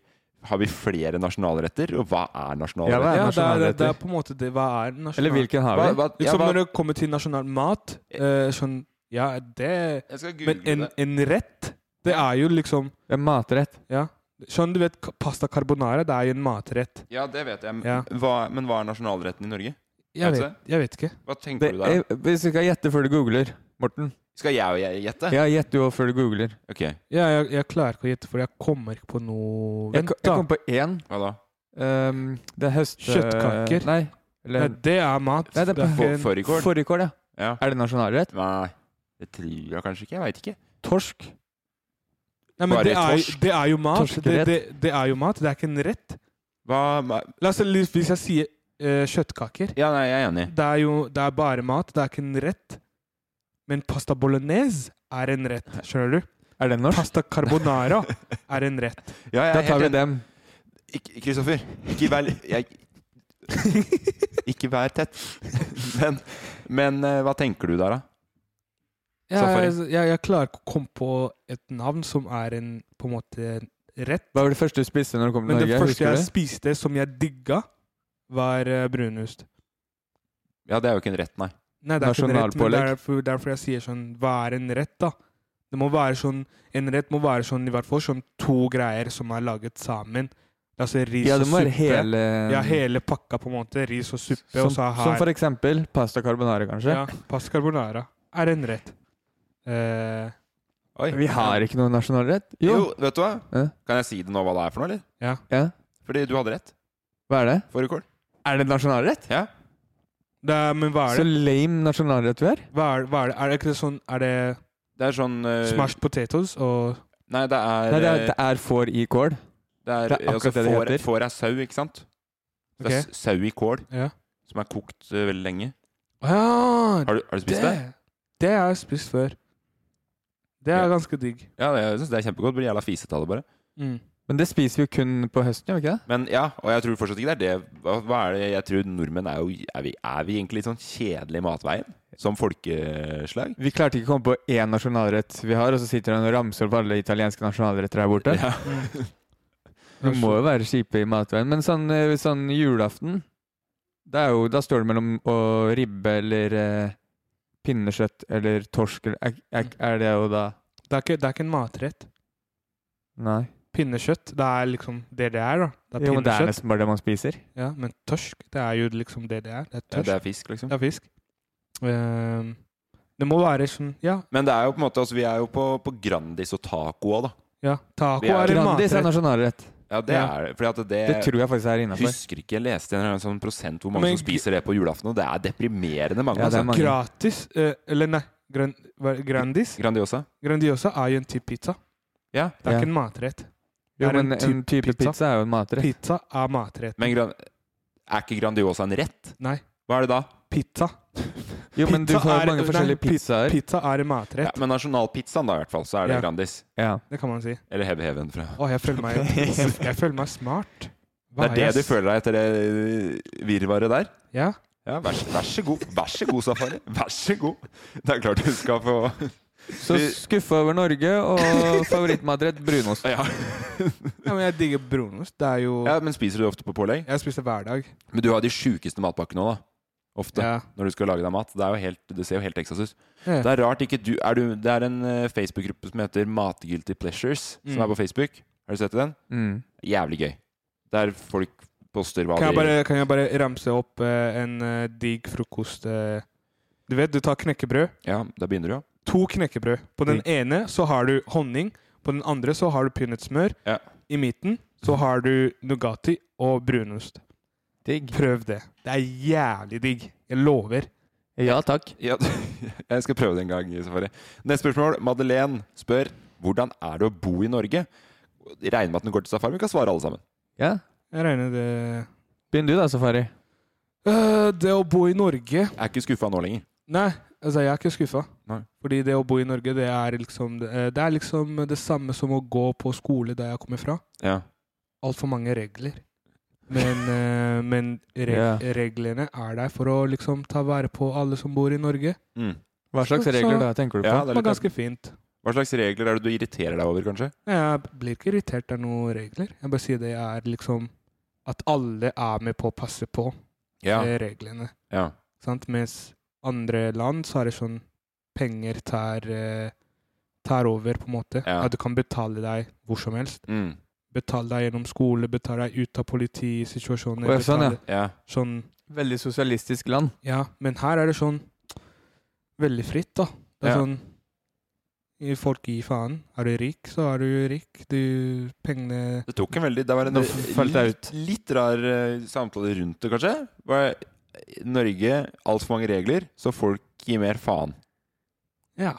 Speaker 4: har vi flere nasjonalretter? Og hva er
Speaker 5: Ja, hva
Speaker 4: nasjonalrett?
Speaker 5: er
Speaker 2: Ja, det er, det
Speaker 5: nasjonalretter?
Speaker 2: er på en måte det. Hva er nasjonal
Speaker 5: Eller hvilken har vi?
Speaker 4: Hva- hva- ja,
Speaker 2: Liksom
Speaker 4: hva-
Speaker 2: når det kommer til nasjonal mat, eh, sånn Ja, det
Speaker 4: jeg skal
Speaker 2: Men
Speaker 4: google
Speaker 2: en,
Speaker 4: det.
Speaker 2: en rett, det er jo liksom
Speaker 5: Det er matrett.
Speaker 2: Ja. Sånn du vet, ka- pasta carbonara, det er jo en matrett.
Speaker 4: Ja, det vet jeg.
Speaker 2: Ja.
Speaker 4: Hva, men hva er nasjonalretten i Norge?
Speaker 2: Jeg
Speaker 4: Vet du
Speaker 2: vet, jeg vet ikke.
Speaker 4: Hva tenker
Speaker 5: Det,
Speaker 4: du der?
Speaker 5: eh, hvis du skal gjette før du googler, Morten
Speaker 4: Skal jeg og jeg gjette?
Speaker 5: Ja, gjett du òg før du googler.
Speaker 4: Ok,
Speaker 2: Ja, jeg, jeg klarer ikke å gjette, for jeg kommer ikke på noe
Speaker 5: Jeg,
Speaker 2: Vent,
Speaker 5: ko- jeg
Speaker 2: da.
Speaker 5: kom på én.
Speaker 4: hva da?
Speaker 5: Um, det er høst...
Speaker 2: Kjøttkaker.
Speaker 5: Nei.
Speaker 2: Nei,
Speaker 5: Eller
Speaker 2: det er mat.
Speaker 5: Nei, det er
Speaker 2: Det er
Speaker 4: Få-
Speaker 2: ikke en-
Speaker 4: Fårikål?
Speaker 5: fårikål, ja.
Speaker 4: Ja.
Speaker 5: Er det nasjonalrett?
Speaker 4: Nei, det tror jeg kanskje ikke. Jeg veit ikke.
Speaker 5: Torsk.
Speaker 2: Nei, men
Speaker 4: Bare
Speaker 2: det er,
Speaker 4: torsk.
Speaker 2: det er jo mat.
Speaker 5: Torskerett.
Speaker 2: Det, det, det er jo mat, det er ikke en rett.
Speaker 4: Hva hva-
Speaker 2: La oss Hvis hvis jeg sier eh, kjøttkaker
Speaker 4: Ja, nei, jeg er enig.
Speaker 2: Det er jo det er bare mat, det er ikke en rett. Men pasta bolognese er en rett, skjønner du?
Speaker 5: Er den norsk?
Speaker 2: Pasta carbonara er en rett.
Speaker 4: Ja, jeg er
Speaker 5: Da tar
Speaker 4: helt
Speaker 5: vi
Speaker 4: enig.
Speaker 5: dem.
Speaker 4: Ikke- Kristoffer, ikke vær jeg, Ikke vær tett. Men, men eh, hva tenker du der, da?
Speaker 2: Ja,
Speaker 4: Safari.
Speaker 2: jeg, jeg, jeg klarer ikke å komme på et navn som er en på en måte rett.
Speaker 5: Hva var det første du spiste når du kom til
Speaker 2: Men det
Speaker 5: Norge?
Speaker 2: første
Speaker 5: Husker
Speaker 2: jeg
Speaker 5: du det?
Speaker 2: spiste som jeg digga, var eh, brunost.
Speaker 4: Ja, det er jo ikke en rett, nei.
Speaker 2: Nei, det er ikke en rett, men
Speaker 5: Nasjonalpålegg.
Speaker 2: derfor, derfor jeg sier sånn Hva er en rett, da? Det må være sånn En rett må være sånn i hvert fall sånn to greier som er laget sammen. Altså ris
Speaker 5: Ja,
Speaker 2: og
Speaker 5: det må være
Speaker 2: suppe.
Speaker 5: hele
Speaker 2: Ja, hele pakka, på en måte. Ris og suppe,
Speaker 5: som,
Speaker 2: og så her
Speaker 5: som for eksempel pasta carbonara, kanskje.
Speaker 2: ja, Pasta carbonara er en rett. Eh,
Speaker 4: Oi.
Speaker 5: Vi har ikke noen nasjonalrett.
Speaker 4: jo.
Speaker 5: Jo.
Speaker 4: vet du hva?
Speaker 5: Ja.
Speaker 4: Kan jeg si det nå hva det er for noe, eller?
Speaker 2: ja.
Speaker 5: Ja.
Speaker 4: Fordi du hadde rett.
Speaker 5: Hva er det?
Speaker 4: Fårikål.
Speaker 5: Er det nasjonalrett?
Speaker 4: Ja.
Speaker 2: Det er, men hva er
Speaker 5: Så
Speaker 2: det?
Speaker 5: lame nasjonalrett du er.
Speaker 2: Hva er, hva er det? Er det ikke sånn Er det
Speaker 4: Det er sånn eh,
Speaker 2: Smashed potatoes og
Speaker 4: Nei, det er,
Speaker 5: Nei, det er,
Speaker 4: eh,
Speaker 5: det er får i kål.
Speaker 4: det er,
Speaker 5: det er akkurat
Speaker 4: altså,
Speaker 5: det det
Speaker 4: får,
Speaker 5: heter.
Speaker 4: får er sau, ikke sant? Det
Speaker 2: Ok.
Speaker 4: er s- sau i kål
Speaker 2: Ja.
Speaker 4: som er kokt eh, veldig lenge.
Speaker 2: Ja,
Speaker 4: Har du, har du spist det?
Speaker 2: det har jeg spist før. Det er
Speaker 4: Ja.
Speaker 2: ganske digg.
Speaker 4: Ja, det, jeg synes det er kjempegodt. Det blir jævla fisete av det, bare.
Speaker 2: Mm.
Speaker 5: Men det spiser vi jo kun på høsten, gjør vi ikke det?
Speaker 4: Men ja, og jeg tror fortsatt ikke det er det. Hva, hva er det jeg tror nordmenn er jo Er vi, er vi egentlig litt sånn kjedelige i matveien? Som folkeslag?
Speaker 5: Vi klarte ikke å komme på én nasjonalrett vi har, og så sitter han og ramser opp alle italienske nasjonalretter her borte.
Speaker 4: Ja.
Speaker 5: Vi må jo være kjipe i matveien. Men sånn, eh, sånn julaften det er jo, Da står det mellom å ribbe eller eh, pinnekjøtt eller torsk eller, er, er, er det jo da
Speaker 2: Det, er ikke, det er ikke en matrett.
Speaker 5: Nei.
Speaker 2: Pinnekjøtt, det er liksom det det er, da. Det er
Speaker 5: Jo, men det er
Speaker 2: pinnekjøtt.
Speaker 5: nesten bare det man spiser.
Speaker 2: Ja, men torsk, det er jo liksom det det er. Det er
Speaker 4: Ja,
Speaker 2: tørsk.
Speaker 4: det er fisk, liksom.
Speaker 2: det er fisk. Ehm, det må være sånn Ja,
Speaker 4: Men det er jo på en måte altså, vi er jo på, på Grandis og taco òg, da.
Speaker 2: ja. Taco
Speaker 4: Vi er-
Speaker 2: er en
Speaker 5: Grandis er
Speaker 2: matrett. Eh,
Speaker 5: nasjonalrett.
Speaker 4: Ja, det
Speaker 2: Ja.
Speaker 4: er det. Fordi at det,
Speaker 5: Det tror jeg faktisk er innafor.
Speaker 4: Husker ikke, jeg leste en eller annen sånn prosent hvor mange
Speaker 2: Men
Speaker 4: som spiser det på julaften, og det er deprimerende mange.
Speaker 5: Ja, det er
Speaker 4: altså.
Speaker 5: mange.
Speaker 2: Gratis eh, Eller nei, gran, hva- Grandis.
Speaker 4: Grandiosa.
Speaker 2: Grandiosa er jo en type pizza.
Speaker 4: Ja,
Speaker 2: Det er
Speaker 5: Ja.
Speaker 2: ikke en matrett. Det
Speaker 5: Jo,
Speaker 2: er
Speaker 5: men en type pizza, er jo en matrett.
Speaker 2: Pizza er matrett.
Speaker 4: men gran er ikke Grandiosa en rett?
Speaker 2: Nei.
Speaker 4: Hva er det da?
Speaker 2: Pizza.
Speaker 5: Jo, men du
Speaker 2: Pizza
Speaker 5: får
Speaker 2: er-
Speaker 5: mange forskjellige
Speaker 2: nei, pi-
Speaker 5: pizzaer.
Speaker 2: Pizza er en matrett.
Speaker 4: Ja, men nasjonalpizzaen, da, i hvert fall, så er det
Speaker 2: Ja.
Speaker 4: Grandis.
Speaker 5: Ja.
Speaker 2: Det kan man si.
Speaker 4: Eller Heavy Heaven fra
Speaker 2: Å, jeg føler meg, jeg føler meg smart.
Speaker 4: Det
Speaker 2: har
Speaker 4: er det
Speaker 2: jeg
Speaker 4: du
Speaker 2: s-
Speaker 4: føler deg etter det eh, virvaret der?
Speaker 2: Ja.
Speaker 4: Ja, vær, så- vær så god. Vær så god, Safari. Vær så god. Det er klart du skal få
Speaker 5: Så
Speaker 4: Vi-
Speaker 5: skuffa over Norge, og favorittmatrett brunost.
Speaker 4: ja.
Speaker 2: ja, men jeg digger brunost. Det er jo
Speaker 4: ja, men spiser du ofte på pålegg?
Speaker 2: Jeg spiser hver dag.
Speaker 4: Men du har de sjukeste matpakkene òg, da. Ofte.
Speaker 2: Ja.
Speaker 4: Når du skal lage deg mat. Det, er jo helt, det ser jo helt Texas ut.
Speaker 2: Ja.
Speaker 4: Det er rart ikke du, er du Det er en eh, Facebook-gruppe som heter Matguilty Pleasures, som
Speaker 2: Mm.
Speaker 4: er på Facebook. Har du sett den?
Speaker 5: Mm.
Speaker 4: Jævlig gøy. Der folk poster hva
Speaker 2: Kan jeg
Speaker 4: de
Speaker 2: bare, kan jeg bare ramse opp eh, en eh, digg frokost eh, Du vet, du tar knekkebrød.
Speaker 4: Ja, da begynner du, ja.
Speaker 2: To knekkebrød. På den ene så har du honning. På den andre så har du peanøttsmør.
Speaker 4: Ja.
Speaker 2: I midten så har du Nugatti og brunost.
Speaker 5: Digg.
Speaker 2: Prøv det. Det er jævlig digg. Jeg lover.
Speaker 5: Ja takk.
Speaker 4: ja. Jeg skal prøve det en gang. Safari. Neste spørsmål. Madeleine spør hvordan er det å bo i Norge. Regner med at den går til safari. Vi kan svare alle sammen.
Speaker 5: Ja.
Speaker 2: Jeg regner det
Speaker 5: Begynn du da, Safari.
Speaker 2: Eh, Det å bo i Norge
Speaker 4: Jeg er ikke skuffa nå lenger.
Speaker 2: Nei, altså jeg er ikke skuffa.
Speaker 4: Nei.
Speaker 2: Fordi det å bo i Norge, det er, liksom, eh, det er liksom det samme som å gå på skole der jeg kommer fra.
Speaker 4: Ja.
Speaker 2: Altfor mange regler. Men, eh, men reg
Speaker 5: Ja.
Speaker 2: reglene er der for å liksom ta vare på alle som bor i Norge.
Speaker 4: Mm.
Speaker 5: Hva slags
Speaker 2: Så- så-
Speaker 5: regler da, tenker du på?
Speaker 4: Ja,
Speaker 2: Det
Speaker 4: det er
Speaker 2: var
Speaker 4: litt,
Speaker 2: ganske fint.
Speaker 4: hva slags regler er det du irriterer deg over, kanskje?
Speaker 2: Jeg blir ikke irritert av noen regler. Jeg bare sier det er liksom at alle er med på å passe på
Speaker 4: Ja.
Speaker 2: eh, reglene.
Speaker 4: ja.
Speaker 2: Sant? Mens andre land så er det sånn penger tar, eh, tar over, på en måte.
Speaker 4: Ja.
Speaker 2: At du kan betale deg hvor som helst.
Speaker 4: Mm.
Speaker 2: Betale deg gjennom skole, betale deg ut av
Speaker 5: Å,
Speaker 2: politisituasjoner.
Speaker 5: ja, sånn, ja.
Speaker 2: betale-
Speaker 4: ja.
Speaker 2: sånn,
Speaker 5: Veldig sosialistisk land.
Speaker 2: ja. Men her er det sånn veldig fritt, da. Det er
Speaker 4: Ja.
Speaker 2: sånn i- Folk gir faen. Er du rik, så er du rik. Du Pengene
Speaker 4: Det tok en veldig Det var en
Speaker 5: Nå falt jeg
Speaker 4: litt, litt rar eh, samtale rundt det, kanskje. Var Norge altfor mange regler, så folk gir mer faen.
Speaker 2: Ja.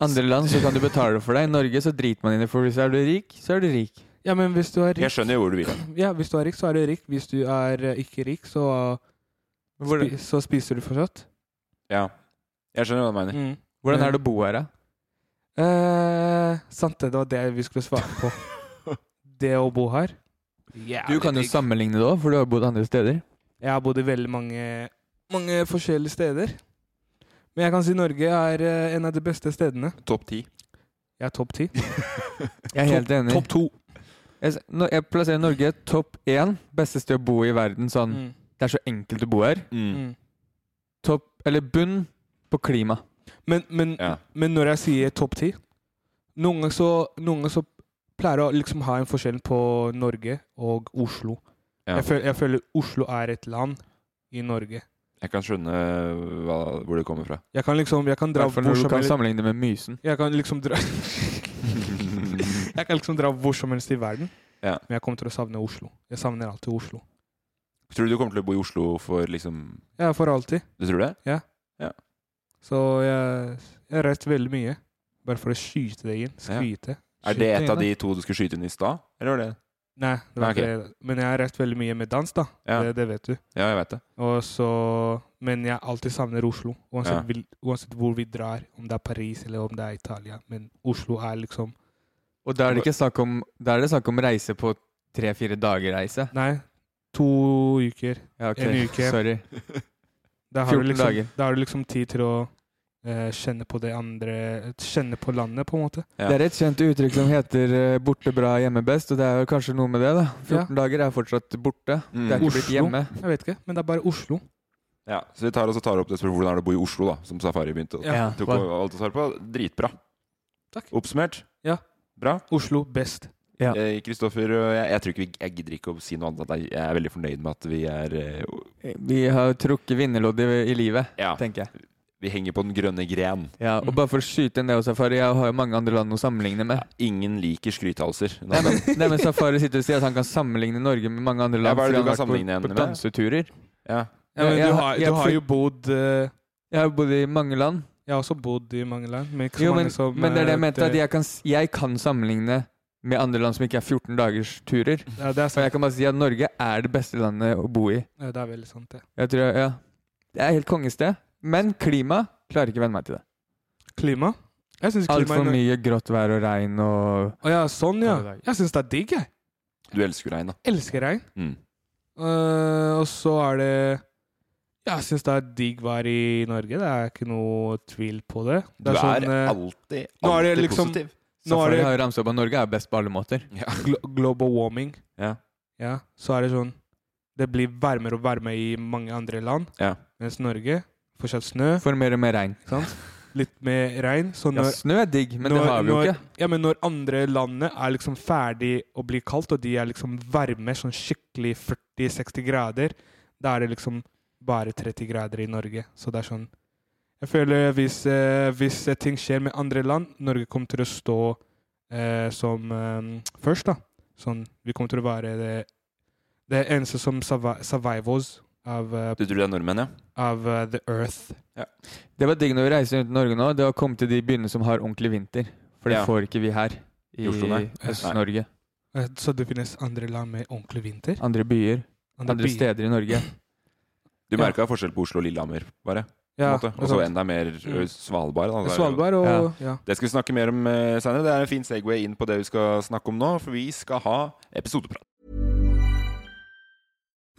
Speaker 5: Andre land så kan du betale for deg. I Norge så driter man inn i for hvis er du rik, så er du rik.
Speaker 2: ja, men hvis du er
Speaker 4: Jeg
Speaker 2: rik
Speaker 4: skjønner jo hvor du vil.
Speaker 2: Ja, hvis du er rik, så er du rik. Hvis du er eh, ikke rik, så,
Speaker 5: Men Hvordan,
Speaker 2: spi så spiser du fortsatt.
Speaker 4: Ja. Jeg skjønner hva du mener.
Speaker 2: Mm.
Speaker 5: hvordan er det å bo her, da?
Speaker 2: Eh, sant det, det var det vi skulle svare på. det å bo her.
Speaker 5: Du kan jo sammenligne det òg, for du har bodd andre steder.
Speaker 2: Jeg har bodd i veldig mange, mange forskjellige steder. Men jeg kan si Norge er eh, en av de beste stedene.
Speaker 4: Topp ti.
Speaker 2: Jeg er topp ti.
Speaker 5: Jeg er helt enig.
Speaker 2: Topp to.
Speaker 5: Jeg, s- nå- jeg plasserer Norge topp én beste sted å bo i verden. Sånn,
Speaker 2: Mm.
Speaker 5: Det er så enkelt å bo her.
Speaker 4: Mm.
Speaker 2: Mm.
Speaker 5: Topp, eller bunn på klima.
Speaker 2: Men, men,
Speaker 4: Ja.
Speaker 2: men når jeg sier topp ti Noen ganger så, noen ganger så pleier jeg å liksom ha en forskjell på Norge og Oslo.
Speaker 4: Ja.
Speaker 2: Jeg, føler, jeg føler Oslo er et land i Norge.
Speaker 4: Jeg kan skjønne øh, hva, hvor det kommer fra.
Speaker 2: Jeg kan liksom jeg kan dra
Speaker 5: Hvertfall
Speaker 2: hvor
Speaker 5: når du
Speaker 2: som
Speaker 5: kan
Speaker 2: helst.
Speaker 5: sammenligne det med Mysen.
Speaker 2: Jeg kan liksom dra Jeg kan liksom dra hvor som helst i verden.
Speaker 4: Ja.
Speaker 2: Men jeg kommer til å savne Oslo. Jeg savner alltid Oslo.
Speaker 4: Tror du du kommer til å bo i Oslo for liksom
Speaker 2: Ja, for alltid.
Speaker 4: Du tror det?
Speaker 2: Så jeg, jeg har reist veldig mye. Bare for å skyte det inn. Skryte.
Speaker 4: Er det et av de to du skulle skyte inn i stad? Eller var det
Speaker 2: Nei, det var
Speaker 4: Nei,
Speaker 2: ikke det. Men jeg har reist veldig mye med dans, da.
Speaker 4: Ja.
Speaker 2: Det, det vet du.
Speaker 4: Ja, jeg vet det.
Speaker 2: Og så, men jeg alltid savner Oslo, uansett,
Speaker 4: Ja.
Speaker 2: vil, uansett hvor vi drar. Om det er Paris eller om det er Italia. Men Oslo er liksom
Speaker 5: Og da er det ikke snakk om, da er det snakk om reise på tre-fire dager reise.
Speaker 2: Nei, to uker.
Speaker 5: Ja, ok.
Speaker 2: En uke.
Speaker 5: Sorry.
Speaker 2: Da har, du
Speaker 5: 14
Speaker 2: liksom,
Speaker 5: dager.
Speaker 2: da har du liksom tid til å eh, kjenne på det andre Kjenne på landet, på en måte.
Speaker 4: Ja.
Speaker 5: Det er et kjent uttrykk som heter eh, 'borte bra, hjemme best', og det er jo kanskje noe med det, da. 14 dager er fortsatt borte.
Speaker 4: Mm.
Speaker 5: Det er ikke blitt
Speaker 2: Oslo.
Speaker 5: hjemme.
Speaker 2: Jeg vet ikke, men det er bare Oslo.
Speaker 4: Ja, så vi tar, også tar opp det spørsmålet hvordan er det å bo i Oslo, da, som Safari begynte å
Speaker 2: Ja.
Speaker 4: tok og valgte å svare på. Dritbra.
Speaker 2: Takk.
Speaker 4: Oppsummert?
Speaker 2: Ja.
Speaker 4: Bra.
Speaker 2: Oslo best.
Speaker 5: Ja.
Speaker 4: Eh, Kristoffer, og jeg, jeg tror ikke vi, jeg gidder ikke å si noe annet. enn at Jeg jeg er veldig fornøyd med at vi er eh,
Speaker 5: Vi har trukket vinnerloddet i, i livet,
Speaker 4: Ja,
Speaker 5: tenker jeg.
Speaker 4: vi henger på den grønne gren.
Speaker 5: Ja, og bare for å skyte inn det også, Safari, jeg har jo mange andre land å sammenligne med.
Speaker 4: Ingen liker skrythalser. Nei,
Speaker 5: Nei, men, nei, men Safari sitter og sier at han kan sammenligne Norge med mange andre land.
Speaker 4: Ja, hva er det du
Speaker 5: fordi han
Speaker 4: kan
Speaker 5: har vært
Speaker 4: sammenligne henne
Speaker 5: på,
Speaker 4: med?
Speaker 5: på danseturer.
Speaker 4: ja.
Speaker 2: Ja, men
Speaker 5: Jeg-
Speaker 2: Eh, du
Speaker 5: jeg-
Speaker 2: har,
Speaker 5: jeg-
Speaker 2: du har jo bodd eh,
Speaker 5: Jeg har jo bodd i mange land.
Speaker 2: Jeg har også bodd i mange land, men ikke så
Speaker 5: Jo, men,
Speaker 2: mange som
Speaker 5: men det er det
Speaker 2: eh,
Speaker 5: jeg mente, at jeg kan, s- jeg kan sammenligne med andre land som ikke er 14 dagers turer.
Speaker 2: ja, det,
Speaker 5: Og
Speaker 2: er
Speaker 5: jeg
Speaker 2: sant.
Speaker 5: kan bare si at Norge er det beste landet å bo i.
Speaker 2: Ja, det er veldig sant, det.
Speaker 5: Jeg tror, ja. Det er helt kongested. Men klima klarer ikke å venne meg til det.
Speaker 2: Klima? Jeg syns klima
Speaker 5: Altfor mye grått vær og regn og
Speaker 2: Å ja, sånn, ja.
Speaker 5: Alle dager.
Speaker 2: Jeg syns det er digg, jeg.
Speaker 4: Du elsker jo regn, da.
Speaker 2: Elsker regn.
Speaker 4: Mm.
Speaker 2: Eh, og så er det Jeg syns det er digg vær i Norge. Det er ikke noe tvil på det.
Speaker 4: Du
Speaker 2: det
Speaker 4: er,
Speaker 2: eh,
Speaker 4: alltid,
Speaker 2: nå er
Speaker 4: alltid
Speaker 2: det liksom-
Speaker 4: positiv.
Speaker 2: Nå er
Speaker 5: Safari
Speaker 2: det
Speaker 5: har jo ramsa opp at Norge er best på alle måter.
Speaker 4: Ja.
Speaker 2: glo global warming.
Speaker 4: Ja.
Speaker 2: Ja, så er det sånn Det blir varmere og varmere i mange andre land,
Speaker 4: Ja.
Speaker 2: mens Norge fortsatt snø,
Speaker 5: For mer og mer regn.
Speaker 2: ikke sant? Litt mer regn. Så
Speaker 5: Ja,
Speaker 2: når,
Speaker 5: snø er digg, men
Speaker 2: når-
Speaker 5: det har vi jo
Speaker 2: når-
Speaker 5: ikke.
Speaker 2: ja, men når andre landet er liksom ferdig å bli kaldt, og de er liksom varme, sånn skikkelig 40-60 grader, da er det liksom bare 30 grader i Norge. Så det er sånn Jeg føler hvis, eh, hvis eh, ting skjer med andre land, Norge kommer til å stå eh, som eh, først, da. Sånn Vi kommer til å være det, det eneste som survi- survivors av, eh,
Speaker 4: Du tror det er nordmenn, ja?
Speaker 2: av eh, the earth.
Speaker 5: Det var digg når vi reiser rundt i Norge nå, det var å komme til de byene som har ordentlig vinter. For det
Speaker 4: Ja.
Speaker 5: får ikke vi her i
Speaker 4: Oslo, nei.
Speaker 5: Øst-Norge.
Speaker 2: Eh, Så det finnes andre land med ordentlig vinter?
Speaker 5: Andre byer,
Speaker 2: Andre
Speaker 5: andre
Speaker 2: byer.
Speaker 5: steder i Norge.
Speaker 4: Du
Speaker 2: Ja.
Speaker 4: merka forskjell på Oslo og Lillehammer, bare. på en
Speaker 2: Ja,
Speaker 4: måte.
Speaker 2: det er
Speaker 4: Og så
Speaker 2: sant. Mm.
Speaker 4: enda mer ø, Svalbard. Da. Det er jo-
Speaker 2: Svalbard og
Speaker 5: Ja.
Speaker 2: ja.
Speaker 4: Det skal vi snakke mer om eh, senere. Det er en fin segway inn på det vi skal snakke om nå, for vi skal ha episodeprat.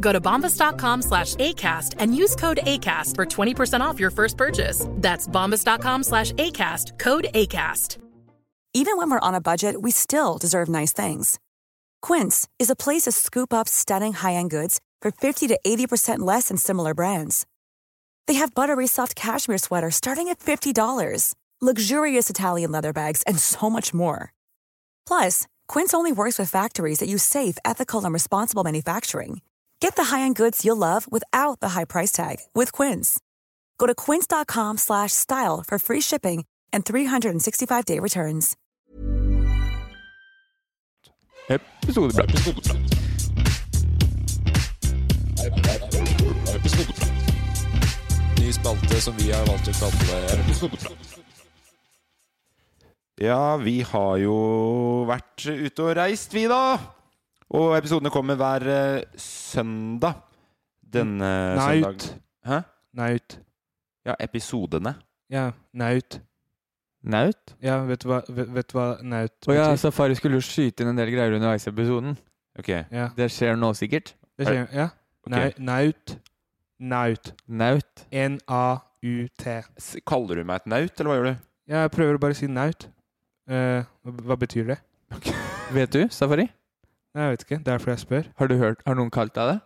Speaker 8: Go to bombas.com slash ACAST and use code ACAST for 20% off your first purchase. That's bombas.com slash ACAST, code ACAST.
Speaker 9: Even when we're on a budget, we still deserve nice things. Quince is a place to scoop up stunning high-end goods for 50 to 80% less than similar brands. They have buttery soft cashmere sweaters starting at $50, luxurious Italian leather bags, and so much more. Plus, Quince only works with factories that use safe, ethical, and responsible manufacturing. Get the high-end goods you'll love without the high price tag with Quince. Go to quince.com/style slash style for free shipping and 365-day returns.
Speaker 5: Episodeprat.
Speaker 6: Ny spalte som vi har valgt å kalle
Speaker 10: Ja, vi har jo vært ute og reist, vi, da! Og episodene kommer hver eh, søndag. Denne
Speaker 5: Eh,
Speaker 2: Nei,
Speaker 10: søndag
Speaker 2: ut.
Speaker 10: Hæ?
Speaker 2: Naut.
Speaker 10: Ja, episodene.
Speaker 2: Ja, naut.
Speaker 5: Naut?
Speaker 2: Ja, vet du hva, vet, vet du hva naut
Speaker 5: Å ja,
Speaker 2: betyr?
Speaker 5: Safari skulle jo skyte inn en del greier underveis i episoden.
Speaker 10: Ok.
Speaker 2: Ja.
Speaker 5: Det skjer nå sikkert.
Speaker 2: Det skjer, ja. Nau- Naut. Naut.
Speaker 5: Naut.
Speaker 2: N-a-u-t.
Speaker 10: S- Kaller du meg et naut, eller hva gjør du?
Speaker 2: Jeg prøver å bare si naut. Eh, hva- hva betyr det?
Speaker 5: Vet du, Safari?
Speaker 2: Nei, Jeg vet ikke. Derfor jeg spør.
Speaker 5: Har, du hørt, har noen kalt deg det?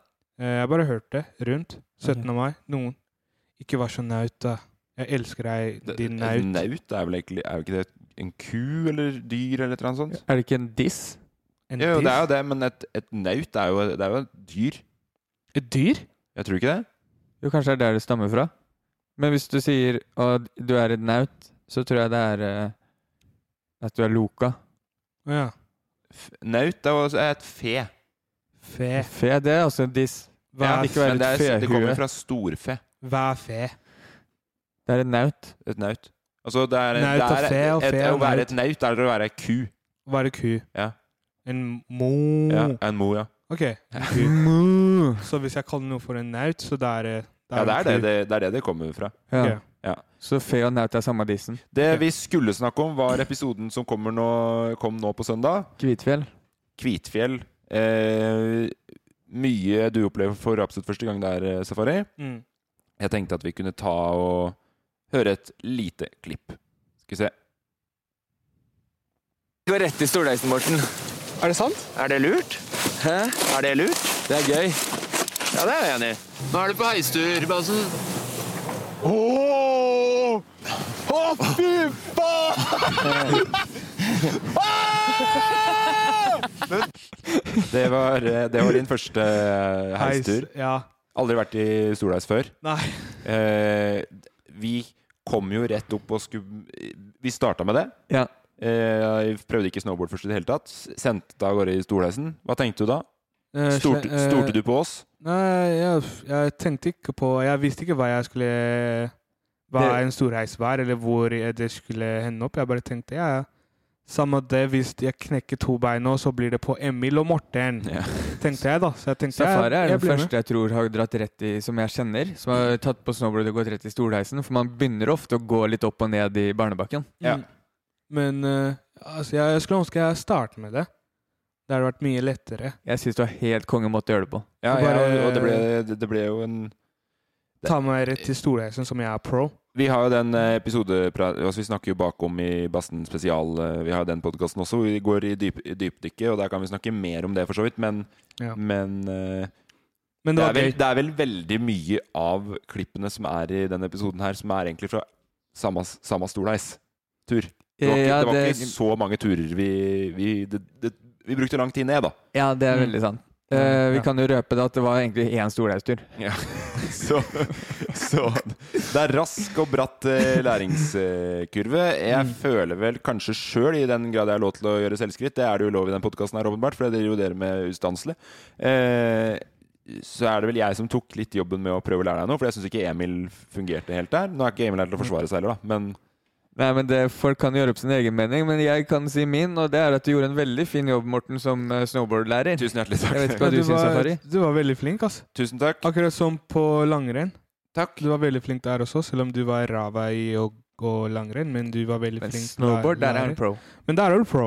Speaker 2: Eh, jeg har bare hørt det rundt. 17. mai. Noen. Ikke vær så naut, da. Jeg elsker deg, din naut.
Speaker 10: Naut er vel egentlig Er jo ikke det en ku eller dyr eller et eller annet sånt?
Speaker 5: Er det ikke en diss?
Speaker 2: En
Speaker 10: jo, det
Speaker 2: diss?
Speaker 10: er jo det, men et, et naut er jo, det er jo et dyr.
Speaker 2: Et dyr?
Speaker 10: Jeg tror ikke det.
Speaker 5: Jo, kanskje det er der det stammer fra. Men hvis du sier at du er et naut, så tror jeg det er eh, at du er loka.
Speaker 2: Ja.
Speaker 10: Naut er jo også et fe.
Speaker 2: Fe.
Speaker 5: Fe, det er også en diss.
Speaker 2: Hva
Speaker 5: Ja,
Speaker 2: er
Speaker 5: ikke være
Speaker 10: men det,
Speaker 5: et
Speaker 10: er, det kommer
Speaker 5: fehue.
Speaker 10: fra storfe.
Speaker 2: Hva er fe?
Speaker 5: Det er et naut.
Speaker 10: Et naut. Altså, det er,
Speaker 2: Naut og
Speaker 10: det er
Speaker 2: fe og
Speaker 10: et,
Speaker 2: fe
Speaker 10: Å
Speaker 2: og
Speaker 10: være
Speaker 2: naut.
Speaker 10: et naut er å være ei ku.
Speaker 2: Hva er det ku?
Speaker 10: Ja.
Speaker 2: En mo.
Speaker 10: ja. En mo, ja.
Speaker 2: Ok. en ku. Så hvis jeg kaller noe for en naut, så da er det da
Speaker 10: ja det, er det,
Speaker 2: en ku.
Speaker 10: det, det er det det kommer fra.
Speaker 5: Ja.
Speaker 2: Ok.
Speaker 10: Ja.
Speaker 5: Så fe og naut er samme dissen.
Speaker 10: Det vi skulle snakke om, var episoden som kommer nå, kom nå på søndag.
Speaker 5: Kvitfjell.
Speaker 10: Kvitfjell. Eh, mye du opplever for absolutt første gang der, eh, Safari.
Speaker 2: Mm.
Speaker 10: Jeg tenkte at vi kunne ta og høre et lite klipp. Skal vi se.
Speaker 11: Du var rett i storleisen, Morten. Er det sant? Er det lurt? Hæ? Er det lurt? Det er gøy. Ja, det er jeg enig i. Nå er du på heistur, Bassen.
Speaker 12: Åh! Å, fy faen!
Speaker 10: Det var, eh, det var din første eh,
Speaker 2: Heis,
Speaker 10: heistur.
Speaker 2: ja.
Speaker 10: Aldri vært i Solheis før.
Speaker 2: Nei.
Speaker 10: Eh, vi kom jo rett opp og skulle Vi starta med det.
Speaker 5: Ja.
Speaker 10: Eh, jeg prøvde ikke snowboard først i det hele tatt. Sendte deg av gårde i Solheisen. Hva tenkte du da?
Speaker 2: Eh,
Speaker 10: Stolte,
Speaker 2: sle- eh,
Speaker 10: stolte du på oss?
Speaker 2: Nei, jeg, jeg tenkte ikke på Jeg visste ikke hva jeg skulle Hva
Speaker 5: Det-
Speaker 2: en storheis var, eller hvor jeg- det skulle hende opp. Jeg bare tenkte ja, ja. samme det, hvis jeg knekker to bein nå, så blir det på Emil og Morten.
Speaker 5: Mm,
Speaker 2: Tenkte jeg, da. Så jeg tenkte jeg,
Speaker 5: Safari er
Speaker 2: jeg
Speaker 5: den
Speaker 2: blir med.
Speaker 5: første jeg tror har dratt rett i, som jeg kjenner, som har tatt på snowboard og gått rett i stolheisen. For man begynner ofte å gå litt opp og ned i barnebakken.
Speaker 2: Mm. Men eh, altså, jeg, jeg skulle ønske jeg startet med det. Det hadde vært mye lettere.
Speaker 5: Jeg syns det var helt konge måte å gjøre det på.
Speaker 10: Ja, ja
Speaker 2: Og bare-
Speaker 10: og det ble, det, det ble jo en
Speaker 2: Ta meg rett til storheisen, som jeg er pro.
Speaker 10: Vi har jo den eh, episodepra- altså Vi snakker jo bakom i Basten spesial. eh, Vi har jo den podkasten også. hvor Vi går i, dyp, i dypdykket, og der kan vi snakke mer om det, for så vidt. Men,
Speaker 2: Ja.
Speaker 10: men, eh, det,
Speaker 2: Men det var
Speaker 10: er vel,
Speaker 2: gøy.
Speaker 10: det er vel veldig mye av klippene som er i denne episoden her, som er egentlig fra samme, samme storleis-tur. Det var, ikke,
Speaker 5: Ja,
Speaker 10: det var
Speaker 5: det-
Speaker 10: ikke så mange turer vi Vi, det, det, vi brukte lang tid ned, da.
Speaker 5: Ja, det er
Speaker 10: Mm.
Speaker 5: veldig sant.
Speaker 10: Ja,
Speaker 5: Eh, vi
Speaker 10: ja.
Speaker 5: kan jo røpe det at det var egentlig én stolheistur.
Speaker 10: Så, så det er rask og bratt eh, læringskurve. Jeg føler vel kanskje sjøl, i den grad jeg har lov til å gjøre selvskritt, det er det jo lov i den podkasten her, åpenbart, for det driver jo dere med ustanselig, eh, så er det vel jeg som tok litt jobben med å prøve å lære deg noe, for jeg syns ikke Emil fungerte helt der. Nå er ikke Emil her til å forsvare seg heller, da, men
Speaker 5: Nei, men det, Folk kan gjøre opp sin egen mening, men jeg kan si min. Og det er at du gjorde en veldig fin jobb, Morten, som eh, snowboardlærer.
Speaker 10: Tusen hjertelig takk.
Speaker 5: Jeg vet ikke hva
Speaker 2: Ja,
Speaker 5: du, syns,
Speaker 2: var,
Speaker 5: Safari.
Speaker 2: du var veldig flink, altså.
Speaker 10: Tusen takk.
Speaker 2: Akkurat som på langrenn.
Speaker 10: Takk.
Speaker 2: Du var veldig flink der også, selv om du var ræva i å gå langrenn. Men du var veldig flink
Speaker 5: snowboard, der er han
Speaker 2: lærer.
Speaker 5: pro.
Speaker 2: Men der er du pro.